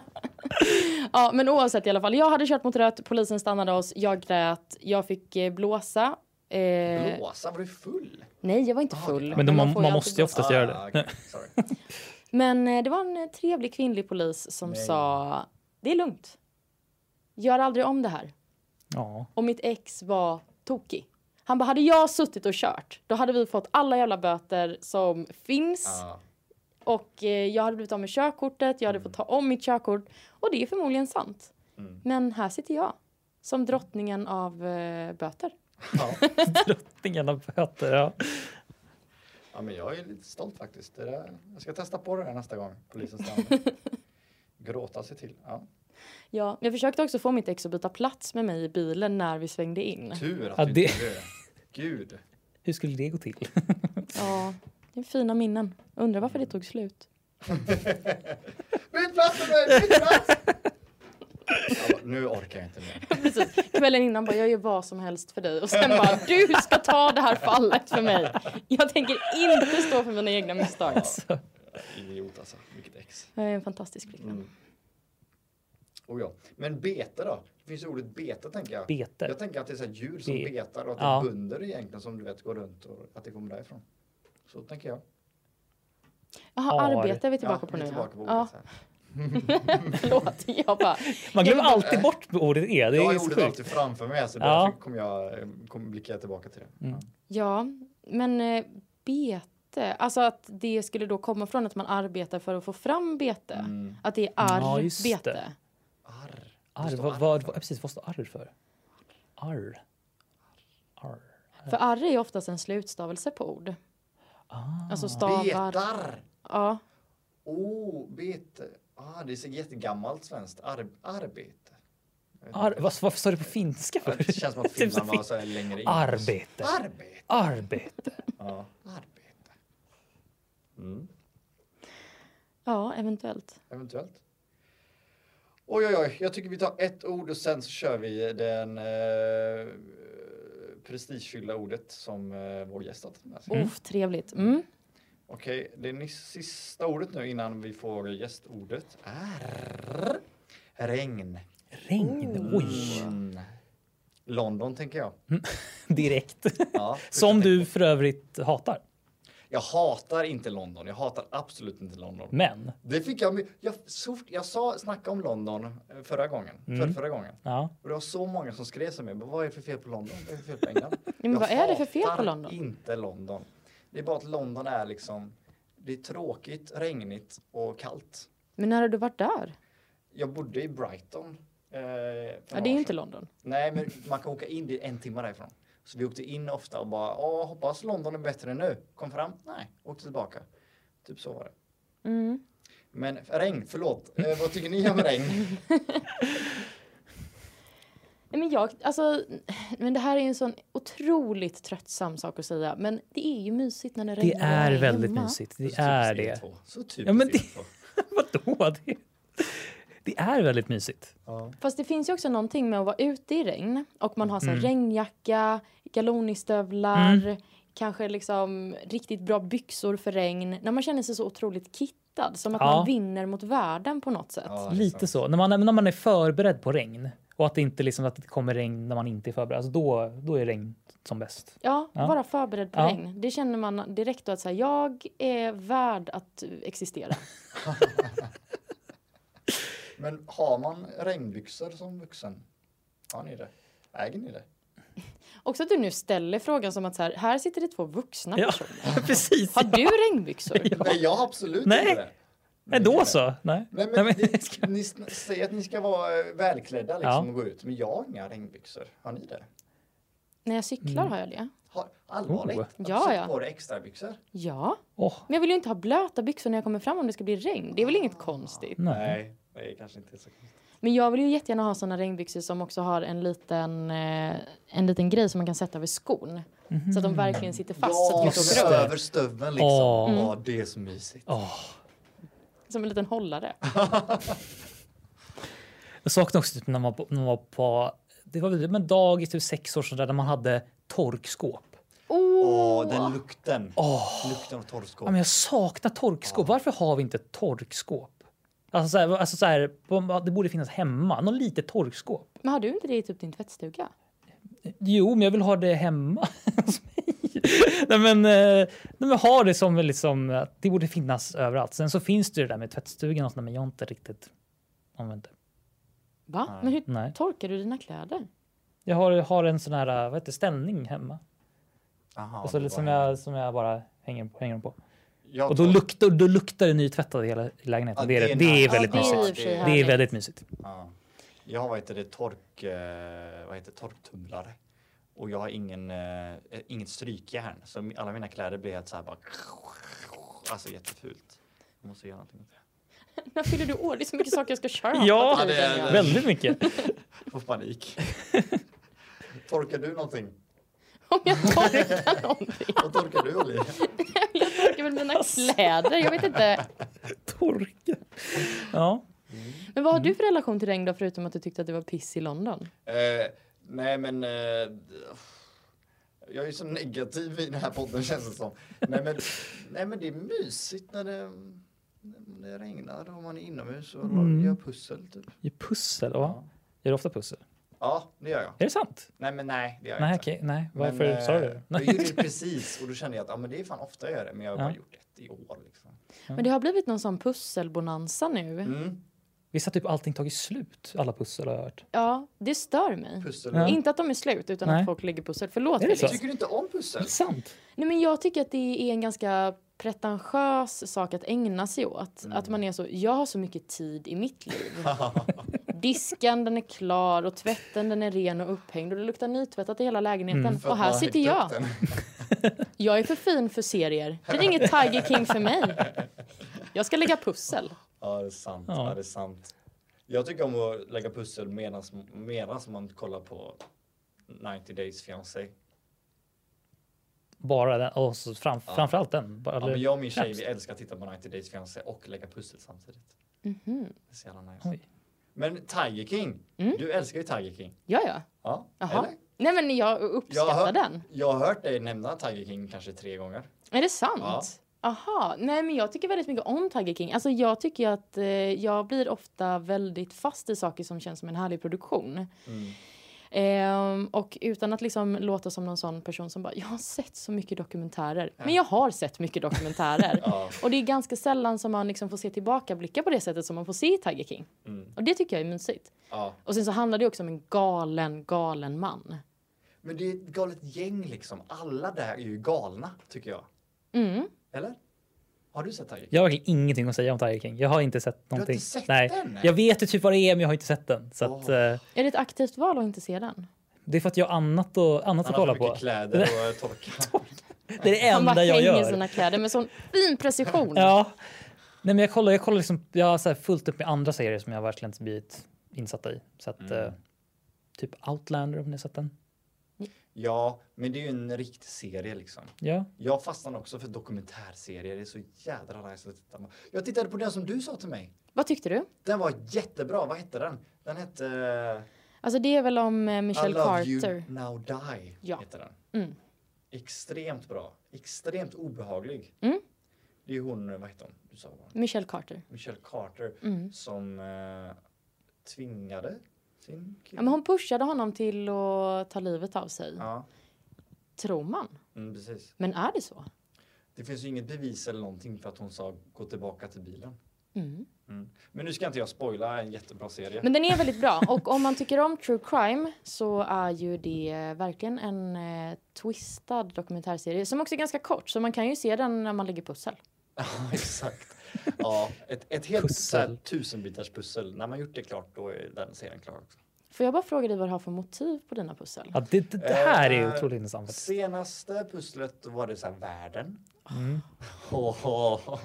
[SPEAKER 2] Ja, men oavsett i alla fall. Jag hade kört mot rött, polisen stannade oss, jag grät, jag fick eh, blåsa. Eh,
[SPEAKER 1] Blåsa, var du full? Ah,
[SPEAKER 2] nej, jag var inte full.
[SPEAKER 3] Men de, man,
[SPEAKER 2] får ju alltid
[SPEAKER 3] man måste ju
[SPEAKER 2] blåsa.
[SPEAKER 3] oftast göra det.
[SPEAKER 1] okej, sorry.
[SPEAKER 2] Men eh, det var en eh, trevlig kvinnlig polis som
[SPEAKER 1] Nej.
[SPEAKER 2] sa, det är lugnt. Gör aldrig om det här.
[SPEAKER 3] Ja.
[SPEAKER 2] Och mitt ex var tokig. Han bara, hade jag suttit och kört, då hade vi fått alla jävla böter som finns.
[SPEAKER 1] Ja.
[SPEAKER 2] Och eh, jag hade blivit av med körkortet, jag hade fått ta om mitt körkort. Och det är förmodligen sant.
[SPEAKER 1] Mm.
[SPEAKER 2] Men här sitter jag. Som drottningen av eh, böter.
[SPEAKER 1] Ja.
[SPEAKER 3] Drottningen av böter. Ja.
[SPEAKER 1] ja, men jag är lite stolt faktiskt. Det där, jag ska testa på det där nästa gång polisen stannar. Gråta sig till. Ja.
[SPEAKER 2] Ja, jag försökte också få mitt ex att byta plats med mig i bilen när vi svängde in.
[SPEAKER 1] Tur att
[SPEAKER 3] Ja,
[SPEAKER 1] du
[SPEAKER 3] det-
[SPEAKER 1] inte gjorde det. Gud.
[SPEAKER 3] Hur skulle det gå till?
[SPEAKER 2] Ja, det är fina minnen. Undrar varför det tog slut.
[SPEAKER 1] Byt plats med mig! Byt plats! Ja, nu orkar jag inte mer.
[SPEAKER 2] Precis. Kvällen innan bara, jag gör vad som helst för dig. Och sen bara, du ska ta det här fallet för mig. Jag tänker inte stå för mina egna misstag.
[SPEAKER 1] Idiot alltså. Vilket ex.
[SPEAKER 2] Jag är en fantastisk
[SPEAKER 1] Mm.
[SPEAKER 3] Mm.
[SPEAKER 2] flicka.
[SPEAKER 1] Oh, ja. Men bete då? Det finns ju ordet bete tänker jag.
[SPEAKER 3] Bete.
[SPEAKER 1] Jag tänker att det är så här djur som
[SPEAKER 3] Be-
[SPEAKER 1] betar och att
[SPEAKER 3] Ja.
[SPEAKER 1] det är bönder egentligen som du vet går runt och att det kommer därifrån. Så tänker jag.
[SPEAKER 2] Jaha,
[SPEAKER 3] Ar.
[SPEAKER 2] arbete är vi tillbaka
[SPEAKER 1] vi
[SPEAKER 2] på
[SPEAKER 1] är
[SPEAKER 2] nu.
[SPEAKER 1] Tillbaka på ordet
[SPEAKER 2] ja,
[SPEAKER 1] sen.
[SPEAKER 2] förlåt. Jag bara,
[SPEAKER 3] Man glömmer alltid bort vad ordet är. Det
[SPEAKER 1] Jag
[SPEAKER 3] är
[SPEAKER 1] har
[SPEAKER 3] ju
[SPEAKER 1] ordet
[SPEAKER 3] sjukt.
[SPEAKER 1] alltid framför mig så
[SPEAKER 3] Ja.
[SPEAKER 1] därför kommer jag kommer blicka tillbaka till det.
[SPEAKER 3] Mm.
[SPEAKER 2] Ja, men eh, bete. Alltså att det skulle då komma från att man arbetar för att få fram bete.
[SPEAKER 1] Mm.
[SPEAKER 2] Att det är
[SPEAKER 3] Ja, just det.
[SPEAKER 2] arbete.
[SPEAKER 1] Arr.
[SPEAKER 3] Arr,
[SPEAKER 1] står
[SPEAKER 3] vad,
[SPEAKER 1] arr
[SPEAKER 3] vad,
[SPEAKER 1] för.
[SPEAKER 3] vad, precis, vad står arr för? Arr. Arr.
[SPEAKER 2] för arr är ju oftast en slutstavelse på ord.
[SPEAKER 3] Ah.
[SPEAKER 2] Alltså stavar.
[SPEAKER 1] Betar!
[SPEAKER 2] Ja,
[SPEAKER 1] Oh, bete. Ah, det är så jättegammalt svenskt. Ar arbete. Jag vet
[SPEAKER 3] Ar,
[SPEAKER 1] inte.
[SPEAKER 3] vad, varför står det på finska
[SPEAKER 1] Ja,
[SPEAKER 3] för?
[SPEAKER 1] Det känns som att
[SPEAKER 3] Typ så
[SPEAKER 1] Finland var
[SPEAKER 3] fin-
[SPEAKER 1] så här längre in.
[SPEAKER 3] Arbete.
[SPEAKER 1] Arbete.
[SPEAKER 3] Arbete.
[SPEAKER 1] Ja. Arbete. Mm.
[SPEAKER 2] ja eventuellt.
[SPEAKER 1] Eventuellt. Oj, oj, oj. Jag tycker vi tar ett ord och sen så kör vi den eh, prestigefyllda ordet som eh, vår gäst har tagit med sig.
[SPEAKER 2] Mm. trevligt. Mm.
[SPEAKER 1] Okej, det ni- sista ordet nu innan vi får gästordet är regn.
[SPEAKER 3] Regn. Oj.
[SPEAKER 1] Mm. London tänker jag.
[SPEAKER 3] Direkt.
[SPEAKER 1] Ja,
[SPEAKER 3] Mm. Som
[SPEAKER 1] jag tänker-
[SPEAKER 3] du för övrigt hatar.
[SPEAKER 1] Jag hatar inte London. Jag hatar absolut inte London.
[SPEAKER 3] Men.
[SPEAKER 1] Det fick jag, my- jag, så, fort- jag sa, snackade om London eh, förra gången,
[SPEAKER 3] Mm.
[SPEAKER 1] för, förra gången.
[SPEAKER 3] Ja.
[SPEAKER 1] Och det var så många som skrev till mig. "Men Vad är det för fel på London? Vad är det för fel på England?
[SPEAKER 2] men
[SPEAKER 1] Jag
[SPEAKER 2] vad är det för fel på
[SPEAKER 1] hatar
[SPEAKER 2] London?
[SPEAKER 1] inte London. Det är bara att London är liksom... Det är tråkigt, regnigt och kallt.
[SPEAKER 2] Men när har du varit där?
[SPEAKER 1] Jag bodde i Brighton. Eh, för
[SPEAKER 2] Ja,
[SPEAKER 1] några
[SPEAKER 2] det är
[SPEAKER 1] år
[SPEAKER 2] ju inte
[SPEAKER 1] sedan.
[SPEAKER 2] London.
[SPEAKER 1] Nej, men man kan åka in. Det är en timme därifrån. Så vi åkte in ofta och bara, Åh, hoppas London är bättre nu. Kom fram. Nej, åkte tillbaka. Typ så var det.
[SPEAKER 2] Mm.
[SPEAKER 1] Men regn, förlåt. Eh, vad tycker ni om regn?
[SPEAKER 2] Nej, men jag, alltså, men det här är ju en sån otroligt tröttsam sak att säga. Men det är ju mysigt när det
[SPEAKER 3] Det
[SPEAKER 2] regnar. och man
[SPEAKER 3] är väldigt
[SPEAKER 2] hemma.
[SPEAKER 3] mysigt. Det är det.
[SPEAKER 1] Så typiskt er två. Så typiskt
[SPEAKER 3] Ja, men det-
[SPEAKER 1] er två.
[SPEAKER 3] typ Vadå? Det, det är väldigt mysigt.
[SPEAKER 1] Ja.
[SPEAKER 2] Fast det finns ju också någonting med att vara ute i regn och man har så här
[SPEAKER 3] Mm.
[SPEAKER 2] regnjacka, galonistövlar, kanske liksom riktigt bra byxor för regn. När man känner sig så otroligt kittig connectad, som att
[SPEAKER 3] Ja.
[SPEAKER 2] man vinner mot världen på något sätt.
[SPEAKER 1] Ja,
[SPEAKER 3] Lite
[SPEAKER 1] exakt.
[SPEAKER 3] så. När man, när man är förberedd på regn och att det inte liksom att det kommer regn när man inte är förberedd, alltså då, då är regn som bäst.
[SPEAKER 2] Ja,
[SPEAKER 3] Ja.
[SPEAKER 2] vara förberedd på
[SPEAKER 3] Ja.
[SPEAKER 2] regn. Det känner man direkt då att så här, jag är värd att existera.
[SPEAKER 1] Men har man regnbyxor som vuxen? Har ni det? Äger ni det?
[SPEAKER 2] Också att du nu ställer frågan som att så här, här sitter det två vuxna
[SPEAKER 3] Ja,
[SPEAKER 2] personer.
[SPEAKER 3] precis.
[SPEAKER 2] Har du regnbyxor?
[SPEAKER 1] Nej, jag har absolut
[SPEAKER 3] Nej.
[SPEAKER 1] inte det.
[SPEAKER 3] Nej, då så. Nej.
[SPEAKER 1] Nej, men
[SPEAKER 3] Nej, men-
[SPEAKER 1] Ni, ni sn- säger att ni ska vara eh, välklädda liksom,
[SPEAKER 3] Ja.
[SPEAKER 1] och gå ut, men jag har inga regnbyxor. Har ni det?
[SPEAKER 2] När jag
[SPEAKER 3] Mm.
[SPEAKER 2] cyklar har jag det.
[SPEAKER 1] Har, allvarligt?
[SPEAKER 3] Oh.
[SPEAKER 1] Har du
[SPEAKER 2] Ja,
[SPEAKER 1] satt
[SPEAKER 2] ja.
[SPEAKER 1] på dig extra byxor?
[SPEAKER 2] Ja,
[SPEAKER 3] Åh,
[SPEAKER 2] men jag vill ju inte ha blöta byxor när jag kommer fram om det ska bli regn. Det är väl inget konstigt.
[SPEAKER 3] nej.
[SPEAKER 1] Nej, det är kanske inte så konstigt.
[SPEAKER 2] Men jag vill ju jättegärna ha såna regnbyxor som också har en liten, eh, en liten grej som man kan sätta över skon. Så
[SPEAKER 3] Mm.
[SPEAKER 2] att de verkligen sitter fast. Mm. så att de
[SPEAKER 1] ja,
[SPEAKER 2] inte
[SPEAKER 3] just
[SPEAKER 2] åker
[SPEAKER 1] så
[SPEAKER 2] upp.
[SPEAKER 3] det.
[SPEAKER 1] över stöveln liksom.
[SPEAKER 3] Åh.
[SPEAKER 1] Ja, det är så mysigt.
[SPEAKER 3] Åh.
[SPEAKER 2] Som en liten hållare.
[SPEAKER 3] Ah. Jag saknar också typ när man, när man var på, det var väl en dag i typ sex år sedan där man hade torkskåp.
[SPEAKER 1] Åh,
[SPEAKER 2] Oh,
[SPEAKER 1] den lukten.
[SPEAKER 3] Åh.
[SPEAKER 1] Lukten av
[SPEAKER 3] Ja,
[SPEAKER 1] torrskål.
[SPEAKER 3] men jag saknar torkskåp. Varför har vi inte torkskåp? Alltså, så här, alltså så här, på- det borde finnas hemma. Något litet torkskåp.
[SPEAKER 2] Men har du inte det i typ din tvättstuga?
[SPEAKER 3] Jo, men jag vill ha det hemma hos mig. Nej, men, eh, nej, men ha det som liksom, att det borde finnas överallt. Sen så finns det ju det där med tvättstugan och sånt, men jag har inte riktigt använt det.
[SPEAKER 2] Va? Men hur
[SPEAKER 3] Nej.
[SPEAKER 2] torkar du dina kläder?
[SPEAKER 3] Jag har, har en sån här vad heter, det, ställning hemma
[SPEAKER 1] Aha,
[SPEAKER 3] och så,
[SPEAKER 1] det
[SPEAKER 3] som,
[SPEAKER 1] var-
[SPEAKER 3] jag, som jag bara hänger, hänger dem på.
[SPEAKER 1] Jag
[SPEAKER 3] Och då
[SPEAKER 1] tar-
[SPEAKER 3] luktar, då luktar det nytvättat i hela lägenheten.
[SPEAKER 1] Ja,
[SPEAKER 3] det, är, det,
[SPEAKER 1] nice.
[SPEAKER 3] det är väldigt
[SPEAKER 2] Ja, det är
[SPEAKER 3] mysigt.
[SPEAKER 2] i och för sig
[SPEAKER 3] Det är
[SPEAKER 2] härligt.
[SPEAKER 3] väldigt mysigt.
[SPEAKER 1] Ja. Jag har vad heter det, tork, eh, vad heter, det, torktumlare. Och jag har ingen, eh, inget strykjärn. Så mi- alla mina kläder blir helt så här bara... Alltså jättefult. Jag måste göra någonting åt det.
[SPEAKER 2] När fyller du år? Det är så mycket saker jag ska köpa.
[SPEAKER 3] Ja,
[SPEAKER 2] till
[SPEAKER 1] det är-
[SPEAKER 2] den.
[SPEAKER 1] det är-
[SPEAKER 3] Väldigt mycket.
[SPEAKER 1] Jag får panik. torkar du någonting?
[SPEAKER 2] Om jag torkar någonting.
[SPEAKER 1] Vad torkar du Olli?
[SPEAKER 2] Jag torkar väl mina kläder. Jag vet inte.
[SPEAKER 3] Torka. Ja.
[SPEAKER 2] Men vad har du för relation till regn då, förutom att du tyckte att det var piss i London?
[SPEAKER 1] Eh, nej men... Eh, jag är ju så negativ i den här podden känns det som. Nej men, nej, men det är mysigt när det, när det regnar och man är inomhus och
[SPEAKER 3] Mm.
[SPEAKER 1] gör pussel typ.
[SPEAKER 3] Gör pussel? Ja. Gör du ofta pussel?
[SPEAKER 1] Ja, det gör jag.
[SPEAKER 3] Är det sant?
[SPEAKER 1] Nej, men nej, det gör jag
[SPEAKER 3] Nej,
[SPEAKER 1] inte.
[SPEAKER 3] okej. Nej,
[SPEAKER 1] Men,
[SPEAKER 3] varför
[SPEAKER 1] eh,
[SPEAKER 3] sa du det?
[SPEAKER 1] Jag gjorde det precis och då kände jag att ja, men det är fan ofta jag gör det, men jag har
[SPEAKER 3] Ja.
[SPEAKER 1] bara gjort det i år. Liksom.
[SPEAKER 2] Men det har blivit någon sån pusselbonanza nu.
[SPEAKER 1] Mm.
[SPEAKER 3] Visst har typ allting tagit slut? Alla pussel har jag hört.
[SPEAKER 2] Ja, det stör mig.
[SPEAKER 1] Pussel.
[SPEAKER 3] Ja.
[SPEAKER 2] Inte att de är slut, utan
[SPEAKER 3] Nej.
[SPEAKER 2] att folk lägger pussel. Förlåt
[SPEAKER 3] Är det
[SPEAKER 2] Felix.
[SPEAKER 3] så?
[SPEAKER 1] Tycker du inte om pussel?
[SPEAKER 3] Är det sant?
[SPEAKER 2] Nej, men jag tycker att det är en ganska pretentiös sak att ägna sig åt. Att man är så, jag har så mycket tid i mitt liv. Disken den är klar och tvätten den är ren och upphängd och det luktar nytvättat i hela lägenheten.
[SPEAKER 3] Mm.
[SPEAKER 1] För
[SPEAKER 2] Och
[SPEAKER 1] att
[SPEAKER 2] här
[SPEAKER 1] man har
[SPEAKER 2] sitter
[SPEAKER 1] hängt
[SPEAKER 2] jag.
[SPEAKER 1] upp den.
[SPEAKER 2] Jag är för fin för serier. Det är inget Tiger King för mig. Jag ska lägga pussel.
[SPEAKER 1] Ja, det är sant.
[SPEAKER 3] Ja.
[SPEAKER 1] Ja. det är sant. Jag tycker om att lägga pussel medans, medans man kollar på 90 Days Fiancé.
[SPEAKER 3] Bara den? Och så fram,
[SPEAKER 1] Ja.
[SPEAKER 3] framförallt den? Bara,
[SPEAKER 1] Ja, men jag och min tjej,
[SPEAKER 3] knappt.
[SPEAKER 1] vi älskar att titta på 90 Days Fiancé och lägga pussel samtidigt.
[SPEAKER 2] Mhm.
[SPEAKER 1] Det är så jävla nice.
[SPEAKER 3] Oj.
[SPEAKER 1] Men Tiger King,
[SPEAKER 2] Mm.
[SPEAKER 1] du älskar ju Tiger King.
[SPEAKER 2] Ja, ja.
[SPEAKER 1] Ja,
[SPEAKER 2] Jaha.
[SPEAKER 1] eller?
[SPEAKER 2] Nej, men jag
[SPEAKER 1] Jag
[SPEAKER 2] uppskattar
[SPEAKER 1] har,
[SPEAKER 2] den.
[SPEAKER 1] jag har hört dig nämna Tiger King kanske tre gånger.
[SPEAKER 2] Är det sant?
[SPEAKER 1] Ja.
[SPEAKER 2] Aha, nej men jag tycker väldigt mycket om Tiger King. Alltså jag tycker ju att eh, jag blir ofta väldigt fast i saker som känns som en härlig produktion.
[SPEAKER 1] Mm.
[SPEAKER 2] Ehm, och utan att liksom låta som någon sån person som bara, jag har sett så mycket dokumentärer. Men jag har sett mycket dokumentärer.
[SPEAKER 1] Ja.
[SPEAKER 2] Och det är ganska sällan som man liksom får se tillbakablickar på det sättet som man får se i Tiger King.
[SPEAKER 1] Mm.
[SPEAKER 2] Och det tycker jag är mysigt.
[SPEAKER 1] ja.
[SPEAKER 2] Och sen så handlar det också om en galen, galen man.
[SPEAKER 1] Men det är ett galet gäng liksom. Alla där är ju galna, tycker jag.
[SPEAKER 2] Mm.
[SPEAKER 1] Eller? Har du sett Tiger King?
[SPEAKER 3] Jag har verkligen ingenting att säga om Tiger King. Jag har inte sett
[SPEAKER 1] har
[SPEAKER 3] någonting.
[SPEAKER 1] inte sett
[SPEAKER 3] Nej.
[SPEAKER 1] den?
[SPEAKER 3] Jag vet ju typ vad det är, men jag har inte sett den. Så att,
[SPEAKER 1] Åh.
[SPEAKER 3] eh,
[SPEAKER 2] Är det ett aktivt val att inte se den?
[SPEAKER 3] det är för att jag har annat, och, annat
[SPEAKER 1] Han
[SPEAKER 3] att
[SPEAKER 1] har
[SPEAKER 3] kolla
[SPEAKER 1] för mycket
[SPEAKER 3] på.
[SPEAKER 1] kläder och eh, torka.
[SPEAKER 3] Det är det
[SPEAKER 2] Han bara
[SPEAKER 3] enda jag
[SPEAKER 2] hänger
[SPEAKER 3] gör.
[SPEAKER 2] sina kläder med sån fin precision.
[SPEAKER 3] Ja. Nej, men jag kollar, jag kollar liksom, jag har så här fullt upp med andra serier som jag verkligen inte blivit insatt i. Så
[SPEAKER 1] Mm.
[SPEAKER 3] att, eh, typ Outlander om ni har sett den.
[SPEAKER 1] Ja, men det är ju en riktig serie liksom.
[SPEAKER 3] Ja.
[SPEAKER 1] Jag fastnar också för dokumentärserier. Det är så jädra nice att titta på. Jag tittade på den som du sa till mig.
[SPEAKER 2] Vad tyckte du?
[SPEAKER 1] Den var jättebra. Vad hette den? Den hette eh,
[SPEAKER 2] Alltså det är väl om eh, Michelle
[SPEAKER 1] I love
[SPEAKER 2] Carter.
[SPEAKER 1] you now die.
[SPEAKER 2] Ja.
[SPEAKER 1] Heter den.
[SPEAKER 2] Mm.
[SPEAKER 1] Extremt bra. Extremt obehaglig.
[SPEAKER 2] Mm.
[SPEAKER 1] Det Det är hon, vad heter hon? Du sa hon.
[SPEAKER 2] Michelle Carter.
[SPEAKER 1] Michelle Carter
[SPEAKER 2] Mm.
[SPEAKER 1] som eh, tvingade sin
[SPEAKER 2] Ja,
[SPEAKER 1] kille.
[SPEAKER 2] men hon pushade honom till att ta livet av sig,
[SPEAKER 1] Ja,
[SPEAKER 2] tror man.
[SPEAKER 1] mm, precis.
[SPEAKER 2] Men är det så?
[SPEAKER 1] Det finns ju inget bevis eller någonting för att hon sa gå tillbaka till bilen.
[SPEAKER 2] Mm.
[SPEAKER 1] Mm. Men nu ska inte jag spoila en jättebra serie.
[SPEAKER 2] Men den är väldigt bra och om man tycker om true crime så är ju det verkligen en eh, twistad dokumentärserie som också är ganska kort så man kan ju se den när man lägger pussel.
[SPEAKER 1] Ja, exakt. Ja, ett, ett helt
[SPEAKER 3] Pussel.
[SPEAKER 1] så här, tusenbitars pussel. När man gjort det klart då är den serien klar. Också.
[SPEAKER 2] Får jag bara fråga dig vad du har för motiv på dina pussel?
[SPEAKER 3] Ja, det, det, det här är
[SPEAKER 1] Eh,
[SPEAKER 3] otroligt intressant. faktiskt.
[SPEAKER 1] Senaste pusslet var det så här världen.
[SPEAKER 3] Mm.
[SPEAKER 1] Åh,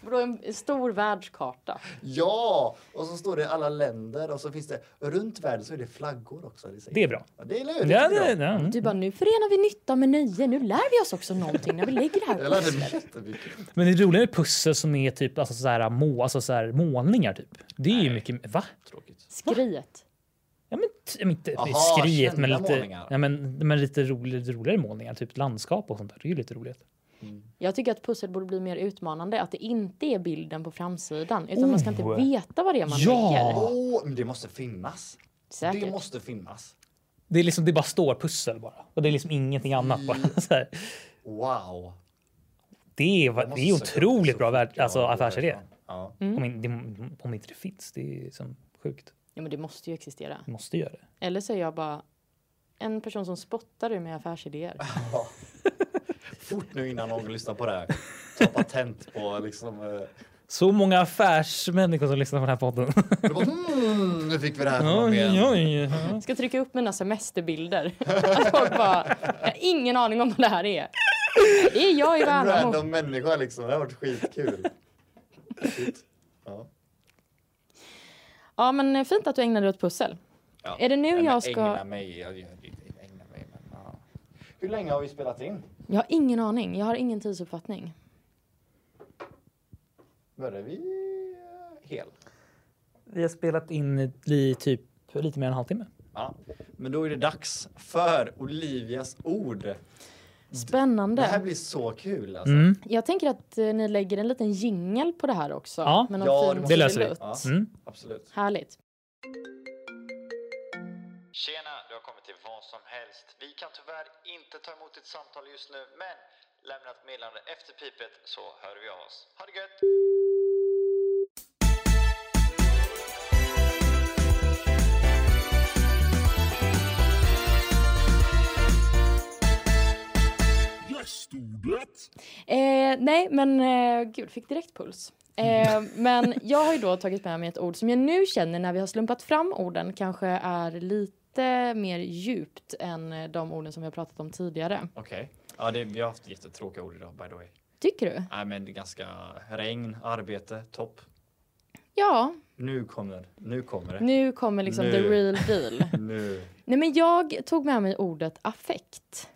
[SPEAKER 2] Vadå en stor världskarta?
[SPEAKER 1] Ja, och så står det alla länder och så finns det runt världen så är det flaggor också. Det, säger-
[SPEAKER 3] Det är bra.
[SPEAKER 1] Ja, det är lurigt.
[SPEAKER 3] Ja,
[SPEAKER 1] tycker
[SPEAKER 3] det,
[SPEAKER 1] jag.
[SPEAKER 3] det, mm.
[SPEAKER 2] Du bara nu förenar vi nytta med nöje, nu lär vi oss också någonting när vi lägger det här
[SPEAKER 1] Jag lärde mig jättemycket.
[SPEAKER 3] Men det är roligare pussel som är typ alltså så här, må, alltså så här, målningar. Typ. Det är ju mycket... Va?
[SPEAKER 1] Tråkigt.
[SPEAKER 2] Skriet.
[SPEAKER 3] Ja, men, t- men inte
[SPEAKER 1] Aha,
[SPEAKER 3] skriet, men
[SPEAKER 1] kända
[SPEAKER 3] lite,
[SPEAKER 1] målningar.
[SPEAKER 3] ja, men, men lite rolig, roligare målningar. Typ landskap och sånt där. Det är ju lite roligt.
[SPEAKER 2] Jag tycker att pussel borde bli mer utmanande, att det inte är bilden på framsidan utan man ska inte
[SPEAKER 3] Oh.
[SPEAKER 2] veta vad det är man
[SPEAKER 3] Ja.
[SPEAKER 2] lägger.
[SPEAKER 1] Åh, men det måste finnas. Det
[SPEAKER 2] Säkert.
[SPEAKER 1] måste finnas.
[SPEAKER 3] Det, är liksom, det bara står pussel bara. Och det är liksom ingenting annat.
[SPEAKER 1] Mm.
[SPEAKER 3] Bara. Så här.
[SPEAKER 1] Wow.
[SPEAKER 3] Det är, va-
[SPEAKER 1] Jag
[SPEAKER 3] det
[SPEAKER 1] måste
[SPEAKER 3] är
[SPEAKER 1] söka upp
[SPEAKER 3] otroligt
[SPEAKER 1] så
[SPEAKER 3] bra
[SPEAKER 1] fort
[SPEAKER 3] värld,
[SPEAKER 1] jag
[SPEAKER 3] alltså,
[SPEAKER 1] går
[SPEAKER 3] affärsidé. Mm.
[SPEAKER 1] härifrån. Ja.
[SPEAKER 3] Om, in, det- om inte det finns, det är liksom sjukt.
[SPEAKER 2] Ja, men det måste ju existera.
[SPEAKER 3] Vi måste göra det.
[SPEAKER 2] Eller så är jag bara en person som spottar ur mig affärsidéer.
[SPEAKER 1] Ja. Fort nu innan någon lyssnar på det här. Ta patent på liksom. eh,
[SPEAKER 3] Så många affärsmänniskor som lyssnar på den här podden.
[SPEAKER 1] det var, hmm, nu fick vi det här från dem igen.
[SPEAKER 3] Oj, oj, oj.
[SPEAKER 2] Ska trycka upp mina semesterbilder. Att folk bara, jag har ingen aning om vad det här är. Det är jag i
[SPEAKER 1] En
[SPEAKER 2] Värnamo.
[SPEAKER 1] random människa liksom. Det har varit skitkul. Shit. Ja.
[SPEAKER 2] Ja, men eh, fint att du ägnade dig åt pussel.
[SPEAKER 1] Ja.
[SPEAKER 2] Är det nu
[SPEAKER 1] Nej, men
[SPEAKER 2] jag ska-
[SPEAKER 1] Ägna mig. Jag, jag, jag ägna mig men, ja. Hur länge har vi spelat in?
[SPEAKER 2] Jag har ingen aning. Jag har ingen tidsuppfattning.
[SPEAKER 1] Börjar vi eh, hel?
[SPEAKER 3] Vi har spelat in i typ lite mer än en halvtimme.
[SPEAKER 1] Ja. Men då är det dags för Olivias ord. Det här
[SPEAKER 2] Spännande.
[SPEAKER 1] blir så kul alltså.
[SPEAKER 3] Mm.
[SPEAKER 2] Jag tänker att eh, ni lägger en liten jingel på det här också.
[SPEAKER 3] Ja.
[SPEAKER 2] med någon
[SPEAKER 1] Ja,
[SPEAKER 2] fin
[SPEAKER 1] det måste-
[SPEAKER 3] Det löser vi.
[SPEAKER 2] trudelutt.
[SPEAKER 1] Ja.
[SPEAKER 3] Mm.
[SPEAKER 1] Absolut.
[SPEAKER 2] Härligt.
[SPEAKER 4] Tjena, du har kommit till vad som helst. Vi kan tyvärr inte ta emot ditt samtal just nu, men lämna ett meddelande efter pipet så hör vi av oss. Ha det gött!
[SPEAKER 2] Eh, nej, men eh, gud, fick direkt puls. Eh, men jag har ju då tagit med mig ett ord som jag nu känner när vi har slumpat fram orden kanske är lite mer djupt än eh, de orden som vi har pratat om tidigare.
[SPEAKER 1] Okej. Ja, det, vi har haft jättetråkiga ord idag by the way.
[SPEAKER 2] Tycker du?
[SPEAKER 1] Nej, men det är ganska regn, arbete, topp.
[SPEAKER 2] Ja,
[SPEAKER 1] Nu kommer, nu kommer det.
[SPEAKER 2] nu kommer liksom the
[SPEAKER 1] Nu.
[SPEAKER 2] real deal.
[SPEAKER 1] Nu.
[SPEAKER 2] Nej, men jag tog med mig ordet affekt.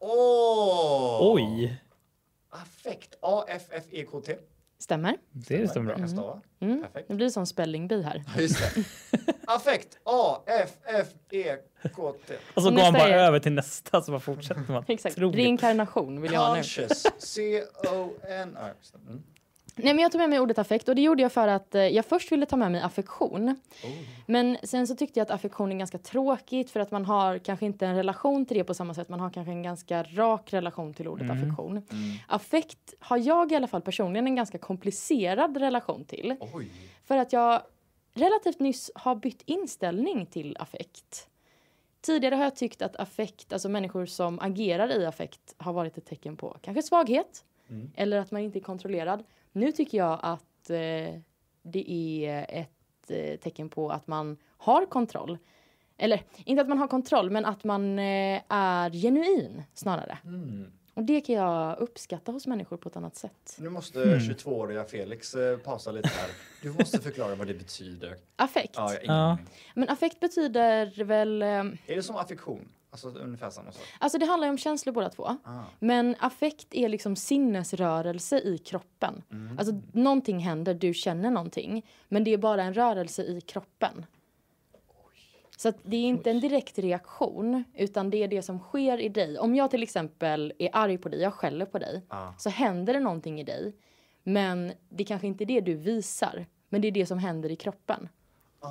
[SPEAKER 1] Åh!
[SPEAKER 3] Oj,
[SPEAKER 1] Affekt. A-F-F-E-K-T.
[SPEAKER 2] Stämmer?
[SPEAKER 3] det stämmer
[SPEAKER 1] Jag
[SPEAKER 3] bra.
[SPEAKER 1] kan stava.
[SPEAKER 2] Mm.
[SPEAKER 1] Perfekt.
[SPEAKER 2] Det blir som spelling bee här.
[SPEAKER 1] Ja, Just det. Affekt. E, A-F-F-E-K-T.
[SPEAKER 3] Alltså
[SPEAKER 2] Och
[SPEAKER 3] går han
[SPEAKER 2] nästa
[SPEAKER 3] bara
[SPEAKER 2] är-
[SPEAKER 3] över till nästa så bara fortsätter man.
[SPEAKER 2] Exakt.
[SPEAKER 3] Otroligt.
[SPEAKER 2] Reinkarnation vill jag ha nu.
[SPEAKER 1] Conscious. C-O-N... Ah, just det. Mm.
[SPEAKER 2] Nej, men jag tog med mig ordet affekt och det gjorde jag för att eh, jag först ville ta med mig affektion.
[SPEAKER 1] Oh.
[SPEAKER 2] Men sen så tyckte jag att affektion är ganska tråkigt för att man har kanske inte en relation till det på samma sätt. Man har kanske en ganska rak relation till ordet affektion.
[SPEAKER 1] Mm.
[SPEAKER 2] Affekt har jag i alla fall personligen en ganska komplicerad relation till.
[SPEAKER 1] Oj.
[SPEAKER 2] För att jag relativt nyss har bytt inställning till affekt. Tidigare har jag tyckt att affekt, alltså människor som agerar i affekt har varit ett tecken på kanske svaghet
[SPEAKER 1] Mm.
[SPEAKER 2] eller att man inte är kontrollerad. Nu tycker jag att eh, det är ett eh, tecken på att man har kontroll. Eller inte att man har kontroll, men att man eh, är genuin snarare. Och det kan jag uppskatta hos människor på ett annat sätt.
[SPEAKER 1] Mm. Nu måste
[SPEAKER 3] Mm.
[SPEAKER 1] 22-åriga Felix eh, pausa lite här. Du måste förklara vad det betyder.
[SPEAKER 2] Affekt.
[SPEAKER 1] Ja, jag har ingen
[SPEAKER 3] Ja.
[SPEAKER 1] aning.
[SPEAKER 2] Men affekt betyder väl... Eh,
[SPEAKER 1] Är det som affektion? Alltså ungefär samma sak?
[SPEAKER 2] Alltså det handlar ju om känslor båda två.
[SPEAKER 1] Ah.
[SPEAKER 2] Men affekt är liksom sinnesrörelse i kroppen. Alltså någonting händer, du känner någonting. Men det är bara en rörelse i kroppen. Så att det är inte en direkt reaktion, utan det är det som sker i dig. Om jag till exempel är arg på dig, jag skäller på dig,
[SPEAKER 1] Ja.
[SPEAKER 2] så händer det någonting i dig. Men det kanske inte är det du visar, men det är det som händer i kroppen.
[SPEAKER 1] Ah.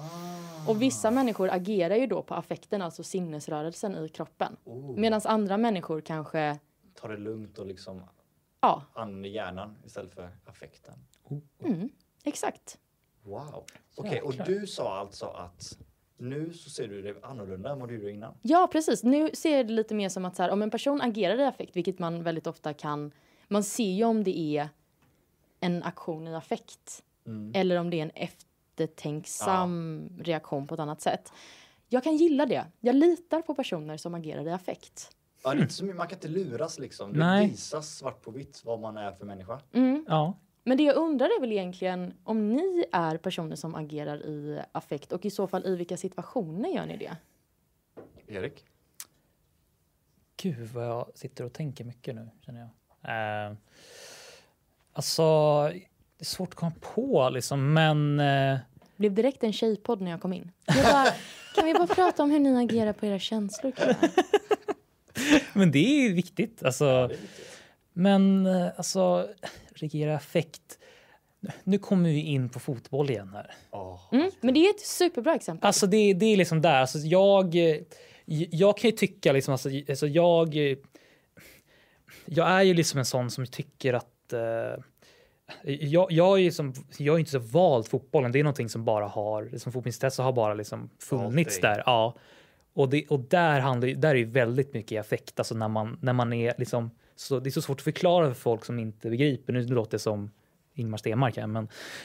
[SPEAKER 2] Och vissa människor agerar ju då på affekten, alltså sinnesrörelsen i kroppen.
[SPEAKER 1] Oh.
[SPEAKER 2] Medan andra människor kanske,
[SPEAKER 1] Ta det lugnt och liksom
[SPEAKER 2] ja,
[SPEAKER 1] använder hjärnan istället för affekten.
[SPEAKER 2] mm, exakt.
[SPEAKER 1] Wow. Okej,
[SPEAKER 3] Jäklar.
[SPEAKER 1] och du sa alltså att nu så ser du det annorlunda än vad du gjorde innan.
[SPEAKER 2] Ja, precis. Nu ser jag det lite mer som att så här, om en person agerar i affekt, vilket man väldigt ofta kan... Man ser ju om det är en aktion i affekt eller om det är en eftertänksam reaktion på ett annat sätt. Jag kan gilla det. Jag litar på personer som agerar i affekt.
[SPEAKER 1] Ja, det är inte så mycket, man kan inte luras liksom. Det
[SPEAKER 3] Nej.
[SPEAKER 1] visas svart på vitt vad man är för människa.
[SPEAKER 2] Mm.
[SPEAKER 3] Ja.
[SPEAKER 2] Men det jag undrar är väl egentligen om ni är personer som agerar i affekt och i så fall i vilka situationer gör ni det?
[SPEAKER 1] Erik?
[SPEAKER 3] Gud vad jag sitter och tänker mycket nu känner jag. Eh, alltså, det är svårt att komma på liksom, men eh,
[SPEAKER 2] Blev direkt en tjejpodd när jag kom in. Jag bara, kan vi bara prata om hur ni agerar på era känslor? killar?"
[SPEAKER 3] Men det är ju viktigt. Alltså. Men eh, alltså, regera effekt. Nu kommer vi in på fotboll igen här.
[SPEAKER 1] Oh.
[SPEAKER 2] Mm, men det är ett superbra exempel.
[SPEAKER 3] Alltså det, det är liksom där. Alltså, jag, eh, j- jag kan ju tycka liksom, alltså, j- alltså jag... eh, Jag är ju liksom en sån som tycker att... eh, jag, jag, är ju som, jag är inte så vald fotbollen. Det är någonting som bara har... Som fotbollsintresse har bara liksom funnits
[SPEAKER 1] Valt dig.
[SPEAKER 3] där. Ja. Och, det, och där, handlar, ju- där är ju väldigt mycket affekt. Alltså när man, när man är liksom, så, det är så svårt att förklara för folk som inte begriper. Nu låter det som Ingemar Stenmark här, men,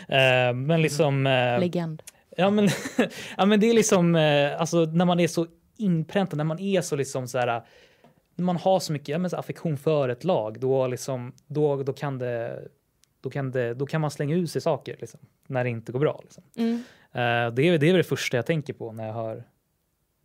[SPEAKER 3] eh, men liksom... eh,
[SPEAKER 2] Legend.
[SPEAKER 3] Ja men, ja, men det är liksom eh, alltså, när man är så inpräntad, när man är så liksom så här. När man har så mycket ja, men, så affektion för ett lag, då liksom då, då kan det då kan, det, då kan man slänga ut sig saker liksom, när det inte går bra. Liksom.
[SPEAKER 2] Mm.
[SPEAKER 3] Eh, det, är, det är väl det första jag tänker på när jag, hör,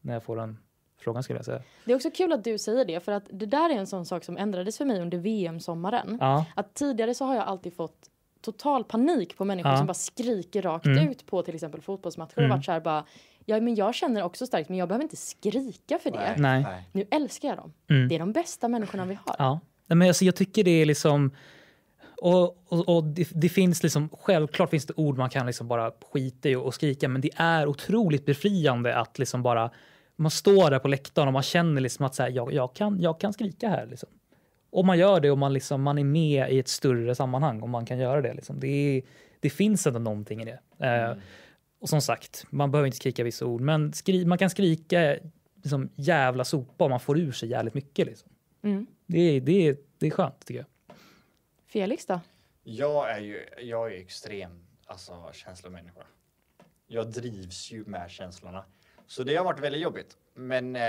[SPEAKER 3] när jag får den frågan. Skulle jag säga.
[SPEAKER 2] Det är också kul att du säger det, för att det där är en sån sak som ändrades för mig under VM-sommaren.
[SPEAKER 3] Ja,
[SPEAKER 2] Att tidigare så har jag alltid fått total panik på människor
[SPEAKER 3] Ja.
[SPEAKER 2] som bara skriker rakt
[SPEAKER 3] Mm.
[SPEAKER 2] ut på till exempel fotbollsmatcher
[SPEAKER 3] Mm.
[SPEAKER 2] och varit så här bara, ja men jag känner också starkt men jag behöver inte skrika för det.
[SPEAKER 3] Nej.
[SPEAKER 2] Nu älskar jag dem.
[SPEAKER 3] Mm.
[SPEAKER 2] Det är de bästa människorna vi har.
[SPEAKER 3] Ja, Nej, men alltså, jag tycker det är liksom... Och, och, och det, det finns liksom, självklart finns det ord man kan liksom bara skita i och, och skrika, men det är otroligt befriande att liksom bara man står där på läktaren och man känner liksom att så här, jag, jag, kan, jag kan skrika här. Liksom. Och man gör det och man, liksom, man är med i ett större sammanhang och man kan göra det. Liksom. Det, är, det finns ändå någonting i det. Eh, och som sagt, man behöver inte skrika vissa ord, men skri, man kan skrika liksom, jävla sopa om man får ur sig jävligt mycket. Liksom.
[SPEAKER 2] Mm.
[SPEAKER 3] Det är, det, är, det är skönt tycker jag.
[SPEAKER 2] Felix då?
[SPEAKER 1] Jag är ju jag är extrem alltså, känslomänniska. Jag drivs ju med känslorna. Så det har varit väldigt jobbigt. Men eh,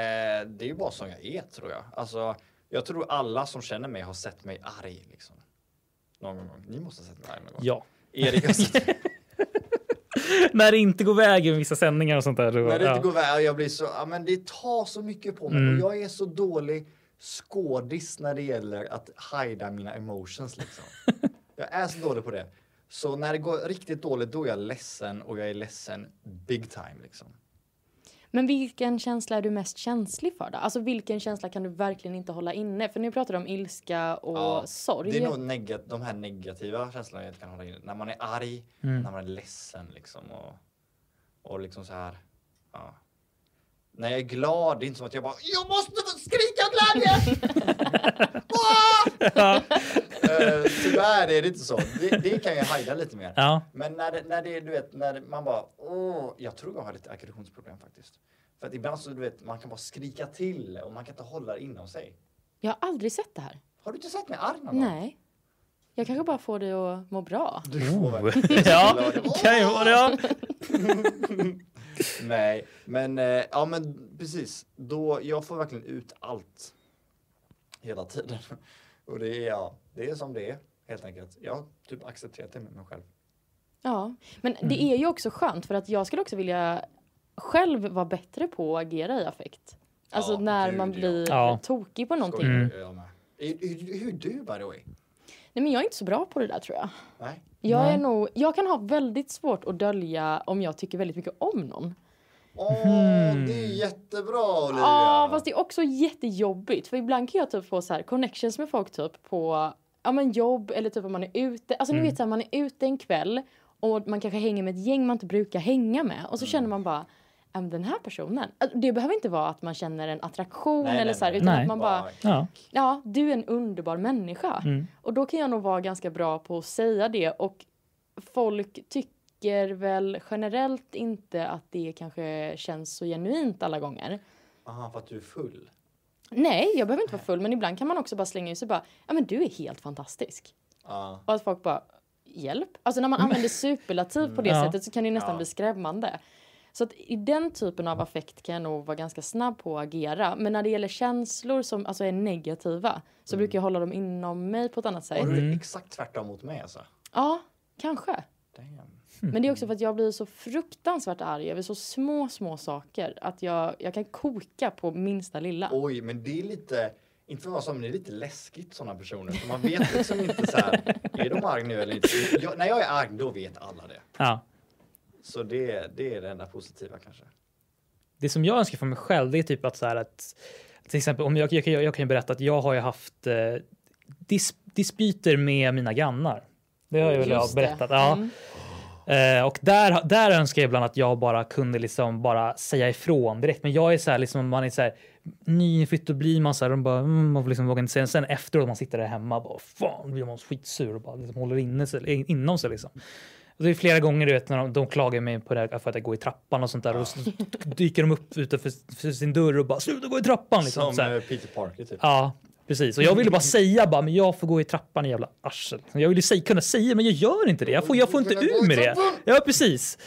[SPEAKER 1] det är ju bara som jag är tror jag. Alltså, jag tror alla som känner mig har sett mig arg. Liksom. Någon gång. Ni måste ha sett mig arg någon gång.
[SPEAKER 3] Ja.
[SPEAKER 1] Erik har sett mig.
[SPEAKER 3] När det inte går vägen med vissa sändningar och sånt där. Då,
[SPEAKER 1] När det
[SPEAKER 3] ja.
[SPEAKER 1] inte går väl, jag blir så, ja, men det tar så mycket på mig.
[SPEAKER 3] Mm.
[SPEAKER 1] Och jag är så dålig skådis när det gäller att hajda mina emotions. Liksom. jag är så dålig på det. Så när det går riktigt dåligt, då är jag ledsen och jag är ledsen big time. Liksom.
[SPEAKER 2] Men vilken känsla är du mest känslig för då? Alltså vilken känsla kan du verkligen inte hålla inne? För nu pratar du om ilska och
[SPEAKER 1] Ja,
[SPEAKER 2] sorg.
[SPEAKER 1] Det är nog neg- de här negativa känslorna jag inte kan hålla in. När man är arg,
[SPEAKER 3] Mm.
[SPEAKER 1] när man är ledsen liksom. Och, och liksom så här. Ja. När jag är glad, det är inte som att jag bara Jag måste få skrika av glädje! Ah! Eh, Tyvärr är det inte så. Det, det kan jag hajda lite mer.
[SPEAKER 3] Ja.
[SPEAKER 1] Men när det, när det är, du vet, när man bara åh, jag tror jag har lite aggressionsproblem faktiskt. För att ibland så, du vet, man kan bara skrika till och man kan inte hålla det inom sig.
[SPEAKER 2] Jag har aldrig sett det här.
[SPEAKER 1] Har du inte sett mig arg någon gång?
[SPEAKER 2] Nej. Jag kanske bara får det att må bra.
[SPEAKER 1] Du får väl-
[SPEAKER 3] ja, kan ju vara det. Ja.
[SPEAKER 1] Nej, men eh, ja, men precis. Då jag får verkligen ut allt. Hela tiden. Och det är ja, det är som det är helt enkelt. Jag har typ accepterat det med mig själv.
[SPEAKER 2] Ja, men det
[SPEAKER 1] Mm.
[SPEAKER 2] är ju också skönt för att jag skulle också vilja själv vara bättre på att agera i affekt. Alltså
[SPEAKER 1] Ja,
[SPEAKER 2] när
[SPEAKER 1] gud,
[SPEAKER 2] man
[SPEAKER 1] ja.
[SPEAKER 2] blir
[SPEAKER 3] Ja.
[SPEAKER 2] tokig på någonting.
[SPEAKER 1] Skojar
[SPEAKER 3] Mm.
[SPEAKER 1] du? Jag med. Hur, hur, hur du by the way?
[SPEAKER 2] Nej, men jag är inte så bra på det där tror jag.
[SPEAKER 1] Nej.
[SPEAKER 2] Jag,
[SPEAKER 3] Nej.
[SPEAKER 2] är nog, jag kan ha väldigt svårt att dölja om jag tycker väldigt mycket om någon.
[SPEAKER 1] Åh,
[SPEAKER 3] Hmm.
[SPEAKER 1] det är jättebra Olivia!
[SPEAKER 2] Ja, fast det är också jättejobbigt. För ibland kan jag typ få så här connections med folk typ på ja, men jobb eller typ om man är ute. Alltså
[SPEAKER 3] Mm.
[SPEAKER 2] ni vet så här, man är ute en kväll och man kanske hänger med ett gäng man inte brukar hänga med. Och så känner man bara, "Ja, men den här personen. Alltså, Det behöver inte vara att man känner en attraktion
[SPEAKER 1] Nej,
[SPEAKER 2] eller
[SPEAKER 1] nej,
[SPEAKER 2] så här.
[SPEAKER 1] nej.
[SPEAKER 2] Utan
[SPEAKER 3] Nej.
[SPEAKER 2] typ att man bara,
[SPEAKER 3] Ja.
[SPEAKER 2] ja du är en underbar människa.
[SPEAKER 3] Mm.
[SPEAKER 2] Och då kan jag nog vara ganska bra på att säga det. Och folk tycker väl generellt inte att det kanske känns så genuint alla gånger.
[SPEAKER 1] Aha, för att du är full.
[SPEAKER 2] Nej, jag behöver inte vara full, men ibland kan man också bara slänga ut sig bara, ja men du är helt fantastisk.
[SPEAKER 1] Ja.
[SPEAKER 2] Och att folk bara, hjälp? Alltså när man använder superlativ på det
[SPEAKER 3] Ja.
[SPEAKER 2] sättet så kan det ju nästan
[SPEAKER 1] Ja.
[SPEAKER 2] bli skrämmande. Så att i den typen av affekt kan jag nog vara ganska snabb på att agera. Men när det gäller känslor som alltså är negativa
[SPEAKER 3] Mm.
[SPEAKER 2] så brukar jag hålla dem inom mig på ett annat sätt.
[SPEAKER 1] Var du exakt tvärtom mot mig alltså?
[SPEAKER 2] Ja, kanske.
[SPEAKER 1] Damn.
[SPEAKER 2] Men det är också för att jag blir så fruktansvärt arg över så små, små saker. Att jag, jag kan koka på minsta lilla.
[SPEAKER 1] Oj, men det är lite, inte för vad som, det är lite läskigt sådana personer. För man vet liksom inte så här, är de arg nu eller inte? Jag, när jag är arg, då vet alla det.
[SPEAKER 3] ja.
[SPEAKER 1] Så det, det är det enda positiva kanske.
[SPEAKER 3] det som jag önskar för mig själv det är typ att så här att till exempel om jag, jag, kan- jag kan ju berätta att jag har ju haft eh, dis, dispyter med mina grannar. Det har jag väl
[SPEAKER 2] Just det.
[SPEAKER 3] berättat. Ja.
[SPEAKER 2] Mm.
[SPEAKER 3] Eh, och där, där önskar jag ibland att jag bara kunde liksom bara säga ifrån direkt. Men jag är så här liksom, man är så här nyinflytt och blir man så här, de bara, mm, man får liksom vågar inte säga. Sen efteråt man sitter där hemma bara, fan, blir man skitsur och bara liksom håller inne sig, inom sig liksom. Och det är flera gånger du vet när de, de klagar mig på det här, för att jag går i trappan och sånt där och så dyker de upp utanför för sin dörr och bara sluta gå i trappan liksom.
[SPEAKER 1] Som
[SPEAKER 3] så här.
[SPEAKER 1] eh, Peter Parker typ.
[SPEAKER 3] Ja, precis. Och jag ville bara säga bara, men jag får gå i trappan i jävla arsel. Jag ville säga, kunna säga, men jag gör inte det. Jag får, jag får inte
[SPEAKER 1] Du vill gå
[SPEAKER 3] ur
[SPEAKER 1] i
[SPEAKER 3] med det.
[SPEAKER 1] trappan.
[SPEAKER 3] Ja, precis.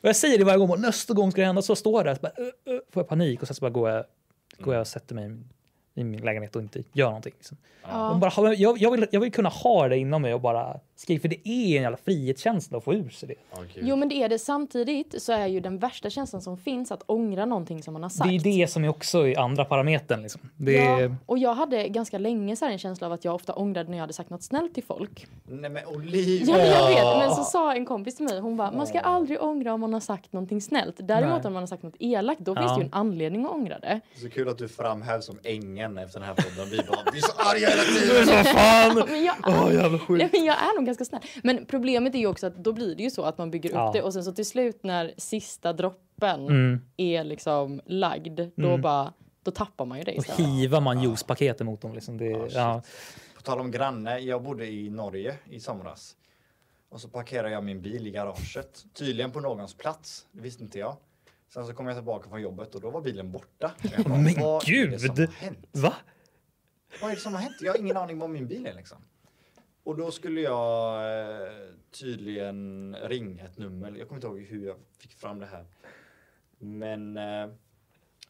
[SPEAKER 3] Och jag säger det varje gång, och nästa gång ska det hända. Så står jag där, så bara, "Ö, ö", får jag panik och sen så bara går jag, går jag och sätter mig i min lägenhet och inte gör någonting. Liksom.
[SPEAKER 2] Ja.
[SPEAKER 3] Och Bara, ha- jag, jag, vill, jag vill kunna ha det inom mig och bara skriva, för det är en jävla frihetskänsla att få ur sig det.
[SPEAKER 1] Ja, gud.
[SPEAKER 2] Jo men det är det. Samtidigt så är ju den värsta känslan som finns att ångra någonting som man har sagt.
[SPEAKER 3] Det är det som är också i andra parametern. Liksom. Det
[SPEAKER 2] Ja,
[SPEAKER 3] är,
[SPEAKER 2] och jag hade ganska länge så här en känsla av att jag ofta ångrade när jag hade sagt något snällt till folk.
[SPEAKER 1] Nej men Olivia!
[SPEAKER 2] Ja, men jag vet, men så sa en kompis till mig, hon bara, man ska aldrig ångra om man har sagt någonting snällt. Däremot
[SPEAKER 3] Nej.
[SPEAKER 2] om man har sagt något elakt, då finns
[SPEAKER 3] Ja.
[SPEAKER 2] det ju en anledning att ångra det.
[SPEAKER 1] Så kul att du framhävs som ängen efter den här podden. Vi bara, vi är så arga hela tiden!
[SPEAKER 3] Vad fan!
[SPEAKER 2] Men jag,
[SPEAKER 3] Åh, jävla skit.
[SPEAKER 2] Ja, men jag är nog ganska snäll. Men problemet är ju också att då blir det ju så att man bygger upp
[SPEAKER 3] Ja.
[SPEAKER 2] det och sen så till slut när sista droppen
[SPEAKER 3] Mm.
[SPEAKER 2] är liksom lagd, då bara, då tappar man ju det
[SPEAKER 3] Och
[SPEAKER 2] istället.
[SPEAKER 3] hivar man juicepaket emot dem. Liksom. Det,
[SPEAKER 1] shit.
[SPEAKER 3] ja.
[SPEAKER 1] På tal om granne, jag bodde i Norge i somras. Och så parkerade jag min bil i garaget, tydligen på någons plats. Det visste inte jag. Sen så kom jag tillbaka från jobbet och då var bilen borta. Och jag bara,
[SPEAKER 3] Men
[SPEAKER 1] vad Är det som har
[SPEAKER 3] gud!
[SPEAKER 1] hänt?
[SPEAKER 3] Va?
[SPEAKER 1] Vad är det som har hänt? Jag har ingen aning om min bil är liksom. Och då skulle jag eh, tydligen ringa ett nummer. Jag kommer inte ihåg hur jag fick fram det här. Men eh,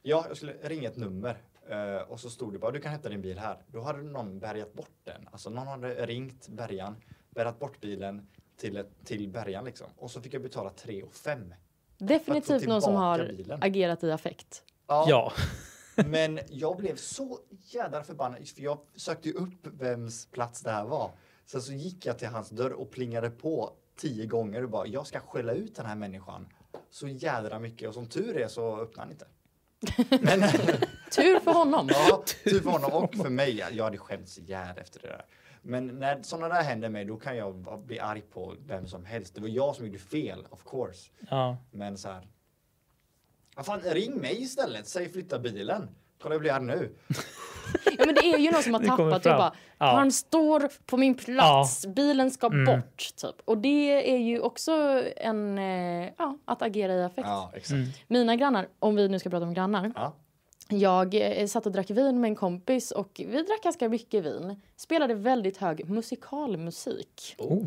[SPEAKER 1] ja, jag skulle ringa ett nummer. Eh, och så stod det bara, du kan hämta din bil här. Då hade någon bärgat bort den. Alltså någon hade ringt bärgaren, bärgat bort bilen till, ett, till bärgaren liksom. Och så fick jag betala 3 och 5. För att
[SPEAKER 2] Definitivt
[SPEAKER 1] få
[SPEAKER 2] någon som
[SPEAKER 1] tillbaka
[SPEAKER 2] har
[SPEAKER 1] bilen.
[SPEAKER 2] agerat i affekt.
[SPEAKER 3] Ja.
[SPEAKER 1] Men jag blev så jädra förbannad för jag sökte ju upp vems plats det här var. Sen så gick jag till hans dörr och plingade på tio gånger och bara jag ska skälla ut den här människan så jädra mycket och som tur är så öppnar han inte. Men eh,
[SPEAKER 2] Tur för honom.
[SPEAKER 1] ja, tur för honom och för mig. Jag hade skämts ihjäl efter det där. Men när sådana där händer mig då kan jag bara bli arg på vem som helst. Det var jag som gjorde fel, of course.
[SPEAKER 3] ja.
[SPEAKER 1] Men så här. Vad fan, ring mig istället. Säg flytta bilen. Kolla jag blir arg nu.
[SPEAKER 2] Ja, men det är ju någon som har
[SPEAKER 3] Det kommer
[SPEAKER 2] tappat och
[SPEAKER 3] fram.
[SPEAKER 2] bara,
[SPEAKER 3] Ja.
[SPEAKER 2] han står på min plats, bilen ska
[SPEAKER 1] Mm.
[SPEAKER 2] bort. Typ. Och det är ju också en, eh, ja, att agera i affekt.
[SPEAKER 1] Ja, exakt.
[SPEAKER 2] Mina grannar, om vi nu ska prata om grannar.
[SPEAKER 1] Ja.
[SPEAKER 2] Jag eh, satt och drack vin med en kompis och vi drack ganska mycket vin. Spelade väldigt hög musikalmusik.
[SPEAKER 3] Oh.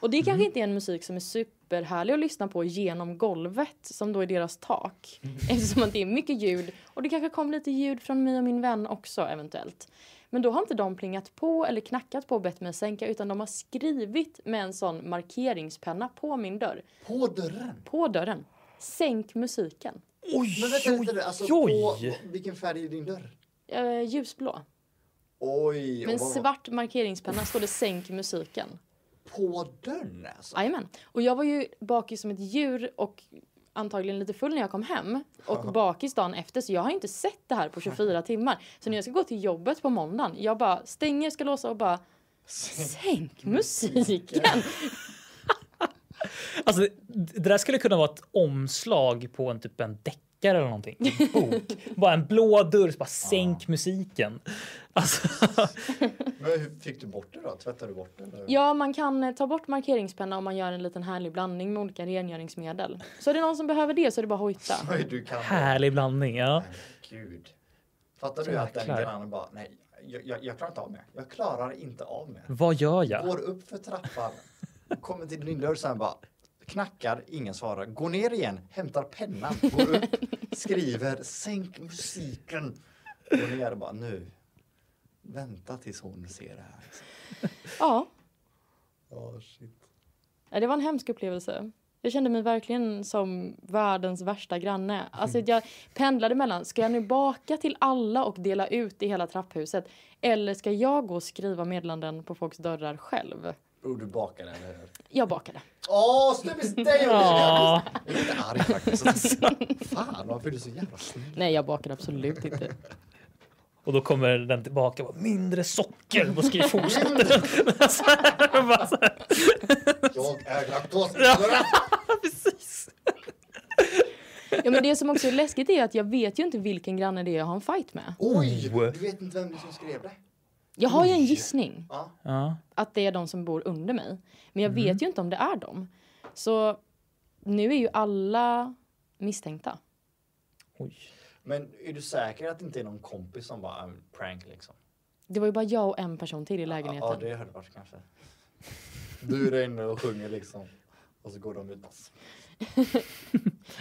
[SPEAKER 2] Och det kanske inte är en musik som är superhärlig att lyssna på genom golvet som då är deras tak. Eftersom att det är mycket ljud och det kanske kom lite ljud från mig och min vän också eventuellt. Men då har inte de plingat på eller knackat på och bett mig sänka utan de har skrivit med en sån markeringspenna på min dörr.
[SPEAKER 1] På dörren?
[SPEAKER 2] På dörren. Sänk musiken.
[SPEAKER 3] Oj,
[SPEAKER 1] Men vänta lite, nu, alltså på,
[SPEAKER 3] oj.
[SPEAKER 1] vilken färg är din dörr?
[SPEAKER 2] Eh, ljusblå.
[SPEAKER 1] Oj,
[SPEAKER 2] Med en
[SPEAKER 1] och vad-
[SPEAKER 2] svart markeringspenna står det sänk musiken.
[SPEAKER 1] på dörren alltså?
[SPEAKER 2] Jajamän. Och jag var ju bakis som ett djur och antagligen lite full när jag kom hem och bakis dagen efter så jag har inte sett det här på 24 timmar. Så när jag ska gå till jobbet på måndagen, jag bara stänger, ska låsa och bara sänk musiken.
[SPEAKER 3] Alltså, det det där skulle kunna vara ett omslag på en typ en deckare eller någonting. En bok. bara en blå dörr, så bara sänk musiken. Alltså,
[SPEAKER 1] Men hur fick du bort det då? Tvättade du bort det? Eller?
[SPEAKER 2] Ja, man kan eh, ta bort markeringspenna om man gör en liten härlig blandning med olika rengöringsmedel. Så är det någon som behöver det så är det bara att hojta.
[SPEAKER 1] Oj, du kan
[SPEAKER 3] härlig blandning. Ja.
[SPEAKER 1] Gud. Fattar du att den
[SPEAKER 3] Jäklar.
[SPEAKER 1] grannen bara, nej, jag, jag, jag klarar inte av mig. Jag klarar inte av mig.
[SPEAKER 3] Vad gör jag?
[SPEAKER 1] Går upp för trappan, kommer till din dörr sen bara, knackar, ingen svarar. Går ner igen, hämtar pennan, går upp, skriver, sänk musiken. Går ner och bara, nu. Vänta tills hon ser det här.
[SPEAKER 2] Ja,
[SPEAKER 1] Oh, shit.
[SPEAKER 2] eh, det var en hemsk upplevelse. Jag kände mig verkligen som världens värsta granne. Alltså jag pendlade mellan, ska jag nu baka till alla och dela ut i hela trapphuset? Eller ska jag gå och skriva meddelanden på folks dörrar själv?
[SPEAKER 1] Och du bakade, eller hur?
[SPEAKER 2] Jag bakade.
[SPEAKER 1] Åh, oh, snubbe dig!
[SPEAKER 3] Ja.
[SPEAKER 1] Jag är lite arg faktiskt. Fan, varför är du så jävla snäll?
[SPEAKER 2] Nej, jag bakade absolut inte.
[SPEAKER 3] Och då kommer den tillbaka. Bara, Mindre socker! Och skriver fortsätter den. så här, och bara så här.
[SPEAKER 1] Jag är laktos.
[SPEAKER 3] Precis.
[SPEAKER 2] Ja, men det som också är läskigt är att jag vet ju inte vilken granne det är jag har en fight med.
[SPEAKER 1] Oj! Du vet inte vem som skrev det?
[SPEAKER 2] Jag har ju en gissning.
[SPEAKER 1] Ja.
[SPEAKER 3] Ja.
[SPEAKER 2] att det är de som bor under mig. Men jag vet ju inte om det är dem. Så nu är ju alla misstänkta.
[SPEAKER 3] Oj.
[SPEAKER 1] Men är du säker att det inte är någon kompis som bara "Ah, prank liksom?
[SPEAKER 2] Det var ju bara jag och en person till i lägenheten.
[SPEAKER 1] Ja, det hade varit kanske. Du är där inne och sjunger liksom. Och så går de ut.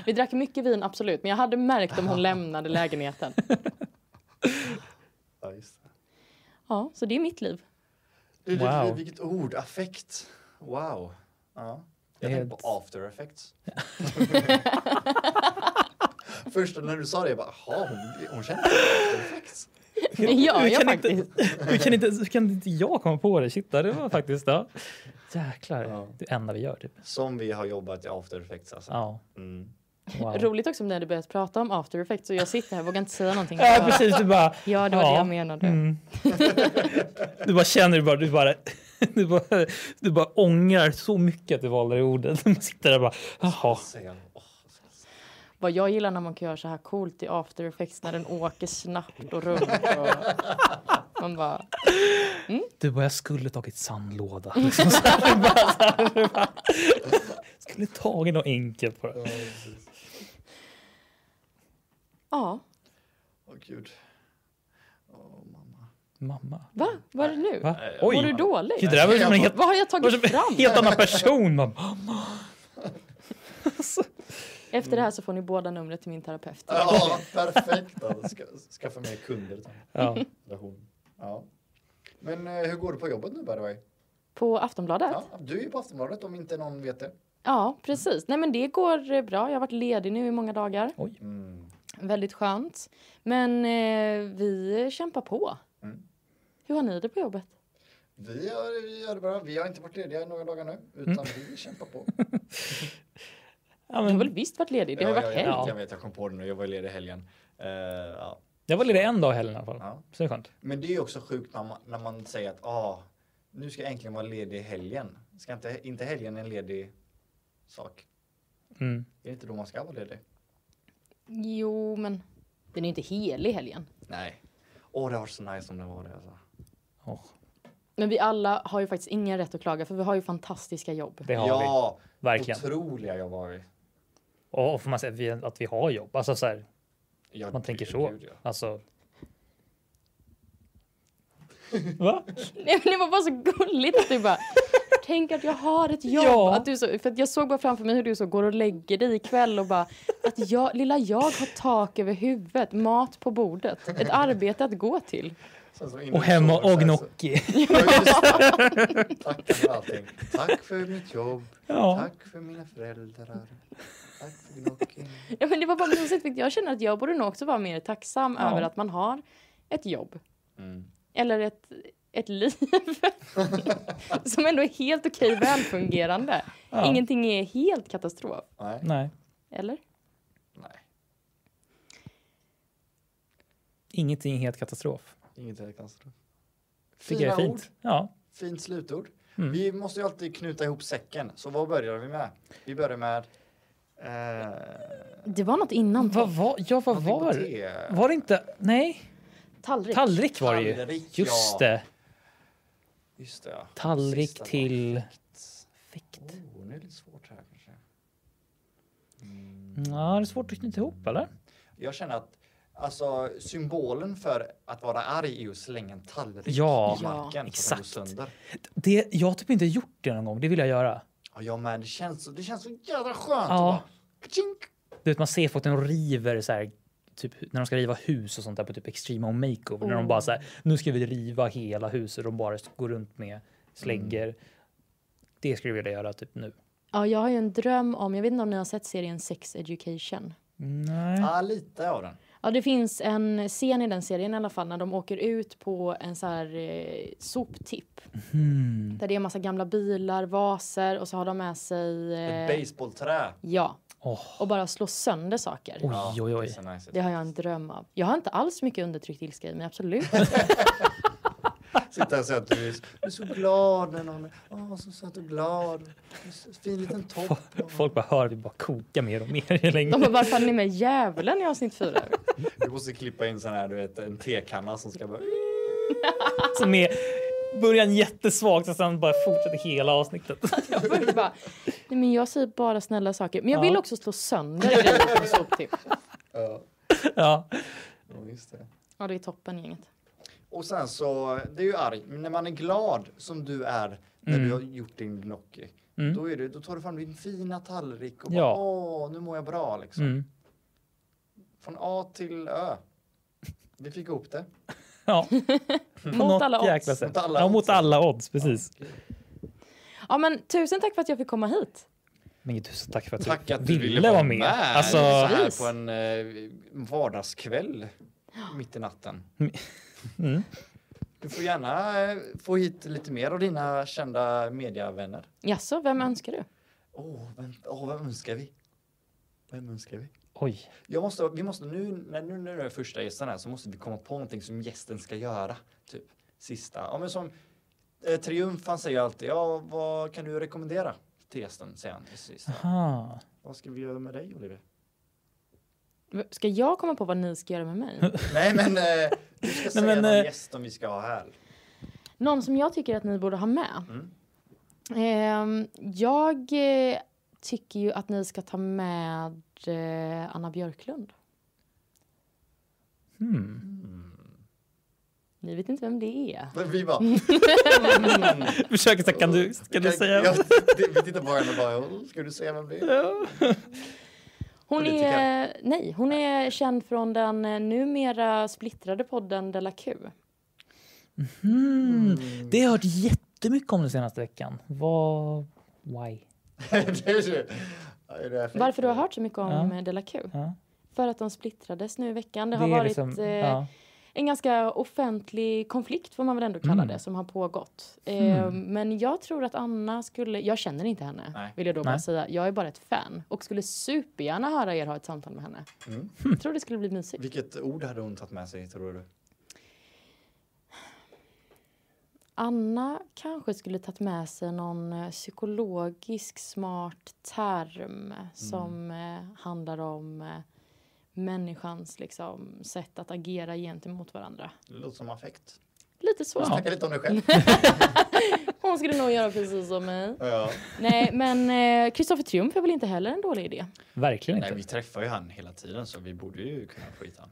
[SPEAKER 2] Vi drack mycket vin, absolut. Men jag hade märkt om hon lämnade lägenheten.
[SPEAKER 1] Ja, just det.
[SPEAKER 2] Ja, så det är mitt liv.
[SPEAKER 1] Du, du,
[SPEAKER 3] Wow.
[SPEAKER 1] du, vilket ord! Affekt. Wow. Ja. Jag
[SPEAKER 3] Det är
[SPEAKER 1] tänkte
[SPEAKER 3] ett-
[SPEAKER 1] på after effects. Först när du sa det, jag bara, jaha, hon, hon känner after effects.
[SPEAKER 2] Det gör
[SPEAKER 3] Hur
[SPEAKER 2] jag
[SPEAKER 3] kan
[SPEAKER 2] faktiskt.
[SPEAKER 3] Inte, hur, kan inte, hur kan inte jag komma på det? Shit, det var faktiskt... Ja. Jäklar.
[SPEAKER 1] Ja.
[SPEAKER 3] Det enda vi gör, typ.
[SPEAKER 1] Som vi har jobbat i after effects alltså.
[SPEAKER 3] Ja.
[SPEAKER 1] Mm.
[SPEAKER 3] Wow.
[SPEAKER 2] Roligt också om ni hade börjat prata om after effects och jag sitter här och vågar inte säga någonting.
[SPEAKER 3] Ja, precis. Du bara...
[SPEAKER 2] Ja, det var det jag menade.
[SPEAKER 3] Mm. Du bara känner, du bara, du bara, du bara, du bara ångrar så mycket att du valde det ordet. Man sitter där och bara, jaha.
[SPEAKER 1] Säger, åh,
[SPEAKER 2] Vad jag gillar när man kan göra så här coolt i after effects när den åker snabbt och runt. Och man bara...
[SPEAKER 3] Du bara, jag skulle tagit sandlåda. Liksom så här, du bara, så här, du bara, skulle tagit något enkelt på det.
[SPEAKER 2] Ja,
[SPEAKER 1] åh gud. Åh, mamma.
[SPEAKER 3] Mamma.
[SPEAKER 2] va? Vad är det nu?
[SPEAKER 3] Va?
[SPEAKER 2] Mår du
[SPEAKER 3] Oj.
[SPEAKER 2] dåligt?
[SPEAKER 3] Det där var ju som en helt,
[SPEAKER 2] Vad har jag
[SPEAKER 3] var som
[SPEAKER 2] tagit
[SPEAKER 3] en
[SPEAKER 2] fram?
[SPEAKER 3] helt annan person. Man, bara,
[SPEAKER 2] Efter det här så får ni båda numret till min terapeut.
[SPEAKER 1] Ja, perfekt. Ja, ska, skaffa mer kunder. till
[SPEAKER 3] ja.
[SPEAKER 1] Relation. Ja. Men eh, hur går det på jobbet nu by the way?
[SPEAKER 2] På Aftonbladet? Ja.
[SPEAKER 1] Ja, du är ju på Aftonbladet om inte någon vet det.
[SPEAKER 2] precis. Nej men det går eh, bra. Jag har varit ledig nu i många dagar.
[SPEAKER 1] Mm.
[SPEAKER 2] Väldigt skönt. Men eh, vi kämpar på.
[SPEAKER 1] Mm.
[SPEAKER 2] Hur har ni det på jobbet?
[SPEAKER 1] Vi, har, vi, har det bra. vi har inte varit lediga i några dagar nu, utan
[SPEAKER 3] Mm.
[SPEAKER 1] vi kämpar på.
[SPEAKER 3] Ja,
[SPEAKER 2] Du har
[SPEAKER 3] men,
[SPEAKER 2] väl visst varit ledig? Det har ju varit
[SPEAKER 1] ja,
[SPEAKER 2] helg.
[SPEAKER 1] jag, vet, jag vet, jag kom på det nu. Jag var ledig i helgen. Eh, ja.
[SPEAKER 3] jag var ledig en dag i helgen i alla fall.
[SPEAKER 1] Ja.
[SPEAKER 3] Så det är skönt.
[SPEAKER 1] Men det är ju också sjukt när man, när man säger att ah, nu ska jag äntligen vara ledig i helgen. Ska inte, inte helgen en ledig sak?
[SPEAKER 3] Mm.
[SPEAKER 1] Är det inte då man ska vara ledig?
[SPEAKER 2] Jo, men den är ju inte helig helgen.
[SPEAKER 1] Nej. Åh, det har varit så nice om det var det. Alltså.
[SPEAKER 3] Åh,
[SPEAKER 2] Men vi alla har ju faktiskt ingen rätt att klaga för vi har ju fantastiska jobb.
[SPEAKER 3] det har vi.
[SPEAKER 1] ja,
[SPEAKER 3] Verkligen.
[SPEAKER 1] otroliga jobb har vi.
[SPEAKER 3] Och, och får man säga att vi, att vi har jobb. Alltså så här,
[SPEAKER 1] Ja,
[SPEAKER 3] man tänker så.
[SPEAKER 1] gud, ja.
[SPEAKER 3] Alltså. Va?
[SPEAKER 2] Nej, men det var bara så gulligt att du bara Tänk att jag har ett jobb.
[SPEAKER 3] Ja.
[SPEAKER 2] Att du så, för att jag såg bara framför mig hur du så går och lägger dig ikväll och bara att jag, lilla jag har tak över huvudet, mat på bordet, ett arbete att gå till.
[SPEAKER 1] Sen så innan
[SPEAKER 3] Och hemma
[SPEAKER 1] solen så alltså. här så- Ja,
[SPEAKER 3] och gnocchi.
[SPEAKER 1] just det. Tack för allting. Tack för mitt jobb.
[SPEAKER 3] Ja.
[SPEAKER 1] Tack för mina föräldrar. Tack för gnocchin.
[SPEAKER 2] Ja, men det var bara på något sätt, jag känner att jag borde nog också vara mer tacksam
[SPEAKER 3] Ja.
[SPEAKER 2] över att man har ett jobb.
[SPEAKER 1] Mm.
[SPEAKER 2] Eller ett, ett liv. som ändå är helt okej välfungerande.
[SPEAKER 3] Ja.
[SPEAKER 2] Ingenting är helt katastrof.
[SPEAKER 1] Nej.
[SPEAKER 3] Nej.
[SPEAKER 2] Eller?
[SPEAKER 1] Nej,
[SPEAKER 3] Ingenting helt katastrof.
[SPEAKER 1] inget är katastrof.
[SPEAKER 3] Tycker jag är fint. Ja,
[SPEAKER 1] Fint slutord.
[SPEAKER 3] Mm.
[SPEAKER 1] Vi måste ju alltid knuta ihop säcken. Så vad börjar vi med? Vi börjar med... Eh,
[SPEAKER 2] Det var något innan. typ.
[SPEAKER 3] vad var, ja, vad
[SPEAKER 1] någonting på
[SPEAKER 3] var det?
[SPEAKER 1] T.
[SPEAKER 3] Var det inte? Nej,
[SPEAKER 2] Tallrik.
[SPEAKER 3] tallrik var det ju.
[SPEAKER 1] Tallrik,
[SPEAKER 3] Just
[SPEAKER 1] ja.
[SPEAKER 3] det.
[SPEAKER 1] Just det, ja.
[SPEAKER 3] Tallrik
[SPEAKER 1] Sista
[SPEAKER 3] till...
[SPEAKER 1] var- Oh, nu är det lite svårt här kanske.
[SPEAKER 3] Ja, det är svårt att knyta ihop, eller?
[SPEAKER 1] Jag känner att alltså, symbolen för att vara arg är ju att slänga en tallrik
[SPEAKER 3] Ja,
[SPEAKER 1] i marken. så att den
[SPEAKER 3] exakt.
[SPEAKER 1] går sönder.
[SPEAKER 3] Det, jag har typ inte gjort det någon gång. Det vill jag göra.
[SPEAKER 1] Ja, jag med. Det känns, så- det känns så jävla skönt.
[SPEAKER 3] Ja.
[SPEAKER 1] att bara, tjink.
[SPEAKER 3] Du vet, man ser folk när de river så här, typ, när de ska riva hus och sånt där på typ Extreme Home Makeover. När de
[SPEAKER 2] Oh.
[SPEAKER 3] bara så här, nu ska vi riva hela huset och de bara går runt med slänger.
[SPEAKER 1] Mm.
[SPEAKER 3] Det skulle jag vilja göra typ nu.
[SPEAKER 2] Ja, jag har ju en dröm om, jag vet inte om ni har sett serien Sex Education.
[SPEAKER 3] Nej.
[SPEAKER 1] Ja, lite av den.
[SPEAKER 2] Ja, det finns en scen i den serien i alla fall när de åker ut på en så här eh, soptipp.
[SPEAKER 3] Hmm.
[SPEAKER 2] Där det är en massa gamla bilar, vaser och så har de med sig... eh,
[SPEAKER 1] Ett baseballträ.
[SPEAKER 2] ja,
[SPEAKER 3] Åh,
[SPEAKER 2] och bara slå sönder saker.
[SPEAKER 1] Oh.
[SPEAKER 3] Oj, oj,
[SPEAKER 1] det är så
[SPEAKER 3] oj.
[SPEAKER 1] nice.
[SPEAKER 2] Det har jag en dröm av. Jag har inte alls mycket undertryckt ilska i mig, absolut.
[SPEAKER 1] Sitta och säga att du är, du är så glad när någon är åh, så söt och glad. Du är så Fin liten topp.
[SPEAKER 3] Folk bara hör att vi bara koka mer och mer.
[SPEAKER 2] De
[SPEAKER 3] länge.
[SPEAKER 2] bara, varför hade ni med djävulen i avsnitt fyra?
[SPEAKER 1] Du måste klippa in sån här, du vet, en tekanna som ska bara...
[SPEAKER 3] Som är början jättesvagt och sen bara fortsätter hela avsnittet.
[SPEAKER 2] Jag började bara, nej men jag säger bara snälla saker. Men jag
[SPEAKER 3] Ja.
[SPEAKER 2] vill också slå sönder grejer på soptipp.
[SPEAKER 1] Ja,
[SPEAKER 3] Ja.
[SPEAKER 1] ja, just det.
[SPEAKER 2] Ja, det är toppen gänget.
[SPEAKER 1] Och sen så, det är ju arg, men när man är glad som du är när
[SPEAKER 3] Mm.
[SPEAKER 1] du har gjort din gnocchi,
[SPEAKER 3] Mm.
[SPEAKER 1] då, är det, då tar du fram din fina tallrik och bara
[SPEAKER 3] Ja.
[SPEAKER 1] åh, nu mår jag bra liksom.
[SPEAKER 3] Mm.
[SPEAKER 1] Från A till Ö. Vi fick ihop det.
[SPEAKER 3] ja.
[SPEAKER 2] Mot
[SPEAKER 3] Något
[SPEAKER 2] alla odds.
[SPEAKER 3] jäkla sätt.
[SPEAKER 1] Mot alla
[SPEAKER 3] ja, mot
[SPEAKER 1] odds.
[SPEAKER 3] alla odds. Precis.
[SPEAKER 2] Ja, men tusen tack för att jag fick komma hit.
[SPEAKER 3] Men gud, tusen tack för att
[SPEAKER 1] Tack
[SPEAKER 3] du
[SPEAKER 1] att du
[SPEAKER 3] ville,
[SPEAKER 1] ville
[SPEAKER 3] vara
[SPEAKER 1] vara
[SPEAKER 3] med.
[SPEAKER 1] med.
[SPEAKER 3] Alltså,
[SPEAKER 1] Så
[SPEAKER 2] Precis.
[SPEAKER 1] här på en eh, vardagskväll mitt i natten.
[SPEAKER 3] Mm.
[SPEAKER 1] Du får gärna eh, få hit lite mer av dina kända mediavänner.
[SPEAKER 2] Jaså, vem
[SPEAKER 3] Mm.
[SPEAKER 2] önskar du?
[SPEAKER 1] Åh, vem, åh, vem önskar vi? Vem önskar vi?
[SPEAKER 3] oj.
[SPEAKER 1] Jag måste, vi måste nu, när nu när du är första gästen här så måste vi komma på någonting som gästen ska göra. Typ sista. Ja, men som eh, Triumf han säger alltid, ja vad kan du rekommendera till gästen? Säger han till sist.
[SPEAKER 3] Aha.
[SPEAKER 1] Vad ska vi göra med dig Oliver?
[SPEAKER 2] Ska jag komma på vad ni ska göra med mig?
[SPEAKER 1] Nej men eh, du ska säga
[SPEAKER 3] men,
[SPEAKER 1] någon
[SPEAKER 3] eh,
[SPEAKER 1] gäst som vi ska ha här.
[SPEAKER 2] Någon som jag tycker att ni borde ha med.
[SPEAKER 1] Mm.
[SPEAKER 2] Ehm, jag eh, tycker ju att ni ska ta med eh, Anna Björklund.
[SPEAKER 3] Hmm.
[SPEAKER 2] Ni vet inte vem det är.
[SPEAKER 1] Men vi bara... Mm.
[SPEAKER 3] Försöker så här, kan du, kan du säga?
[SPEAKER 1] Ja, det- vi tittar på henne och bara, "Åh, ska du säga vem det är?
[SPEAKER 2] Hon är,
[SPEAKER 1] Politiker.
[SPEAKER 2] nej, hon är känd från den eh, numera splittrade podden Della Q.
[SPEAKER 3] Hmm.
[SPEAKER 1] Mm.
[SPEAKER 3] Det har jag hört jättemycket om den senaste veckan. Vad... Why?
[SPEAKER 1] Det är ju- ja, det är därför-
[SPEAKER 2] Varför du har hört så mycket om
[SPEAKER 3] Ja.
[SPEAKER 2] eh, Della Q?
[SPEAKER 3] Ja.
[SPEAKER 2] För att de splittrades nu i veckan. Det har
[SPEAKER 3] är
[SPEAKER 2] varit
[SPEAKER 3] liksom-
[SPEAKER 2] eh,
[SPEAKER 3] ja.
[SPEAKER 2] en ganska offentlig konflikt får man väl ändå kalla
[SPEAKER 3] Mm.
[SPEAKER 2] det som har pågått. Eh, Men jag tror att Anna skulle, jag känner inte henne
[SPEAKER 1] Nej.
[SPEAKER 2] vill jag då bara
[SPEAKER 3] Nej.
[SPEAKER 2] säga. Jag är bara ett fan och skulle supergärna höra er ha ett samtal med henne.
[SPEAKER 1] Mm.
[SPEAKER 2] Jag tror det skulle bli mysigt.
[SPEAKER 1] Vilket ord hade hon tagit med sig tror du?
[SPEAKER 2] Anna kanske skulle tagit med sig någon eh, psykologisk smart term som eh, handlar om eh, människans liksom, sätt att agera gentemot varandra.
[SPEAKER 1] Det låter som affekt.
[SPEAKER 2] Lite så.
[SPEAKER 1] Snacka lite om dig själv.
[SPEAKER 2] Hon skulle nog göra precis som mig.
[SPEAKER 1] ja.
[SPEAKER 2] Nej, men eh, Kristoffer Triumf är väl inte heller en dålig idé?
[SPEAKER 3] Verkligen inte.
[SPEAKER 1] Nej, vi träffar ju han hela tiden så vi borde ju kunna få hit han.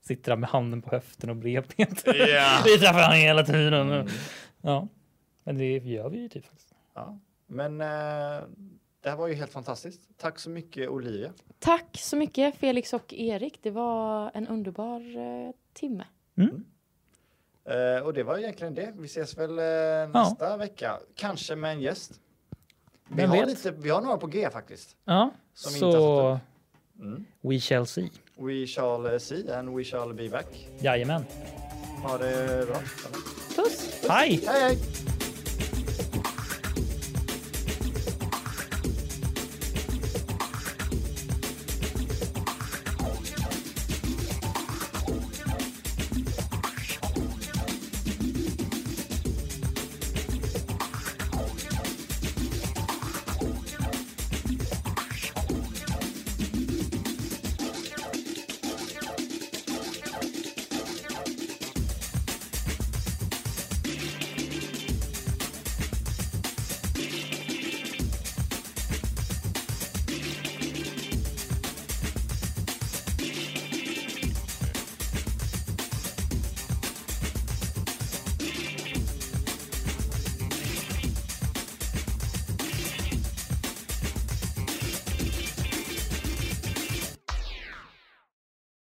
[SPEAKER 3] Sitter där med handen på höften och bredbent.
[SPEAKER 1] Ja. Mm.
[SPEAKER 3] vi träffar honom hela tiden. Ja. Men det gör vi ju typ. faktiskt.
[SPEAKER 1] Ja. Men eh, det här var ju helt fantastiskt. Tack så mycket Olivia.
[SPEAKER 2] Tack så mycket Felix och Erik. Det var en underbar eh, timme.
[SPEAKER 1] Eh, och det var egentligen det. Vi ses väl eh, nästa vecka. Kanske med en gäst. Vi
[SPEAKER 3] Vem
[SPEAKER 1] har,
[SPEAKER 3] vet?
[SPEAKER 1] lite, vi har några på G faktiskt.
[SPEAKER 3] Ja.
[SPEAKER 1] Som vi inte har
[SPEAKER 3] Så...
[SPEAKER 1] satt Mm.
[SPEAKER 3] We shall see.
[SPEAKER 1] We shall eh, see and we shall be back.
[SPEAKER 3] Jajamän.
[SPEAKER 1] Ha det bra.
[SPEAKER 2] Puss!
[SPEAKER 3] Hej!
[SPEAKER 1] Hej hej!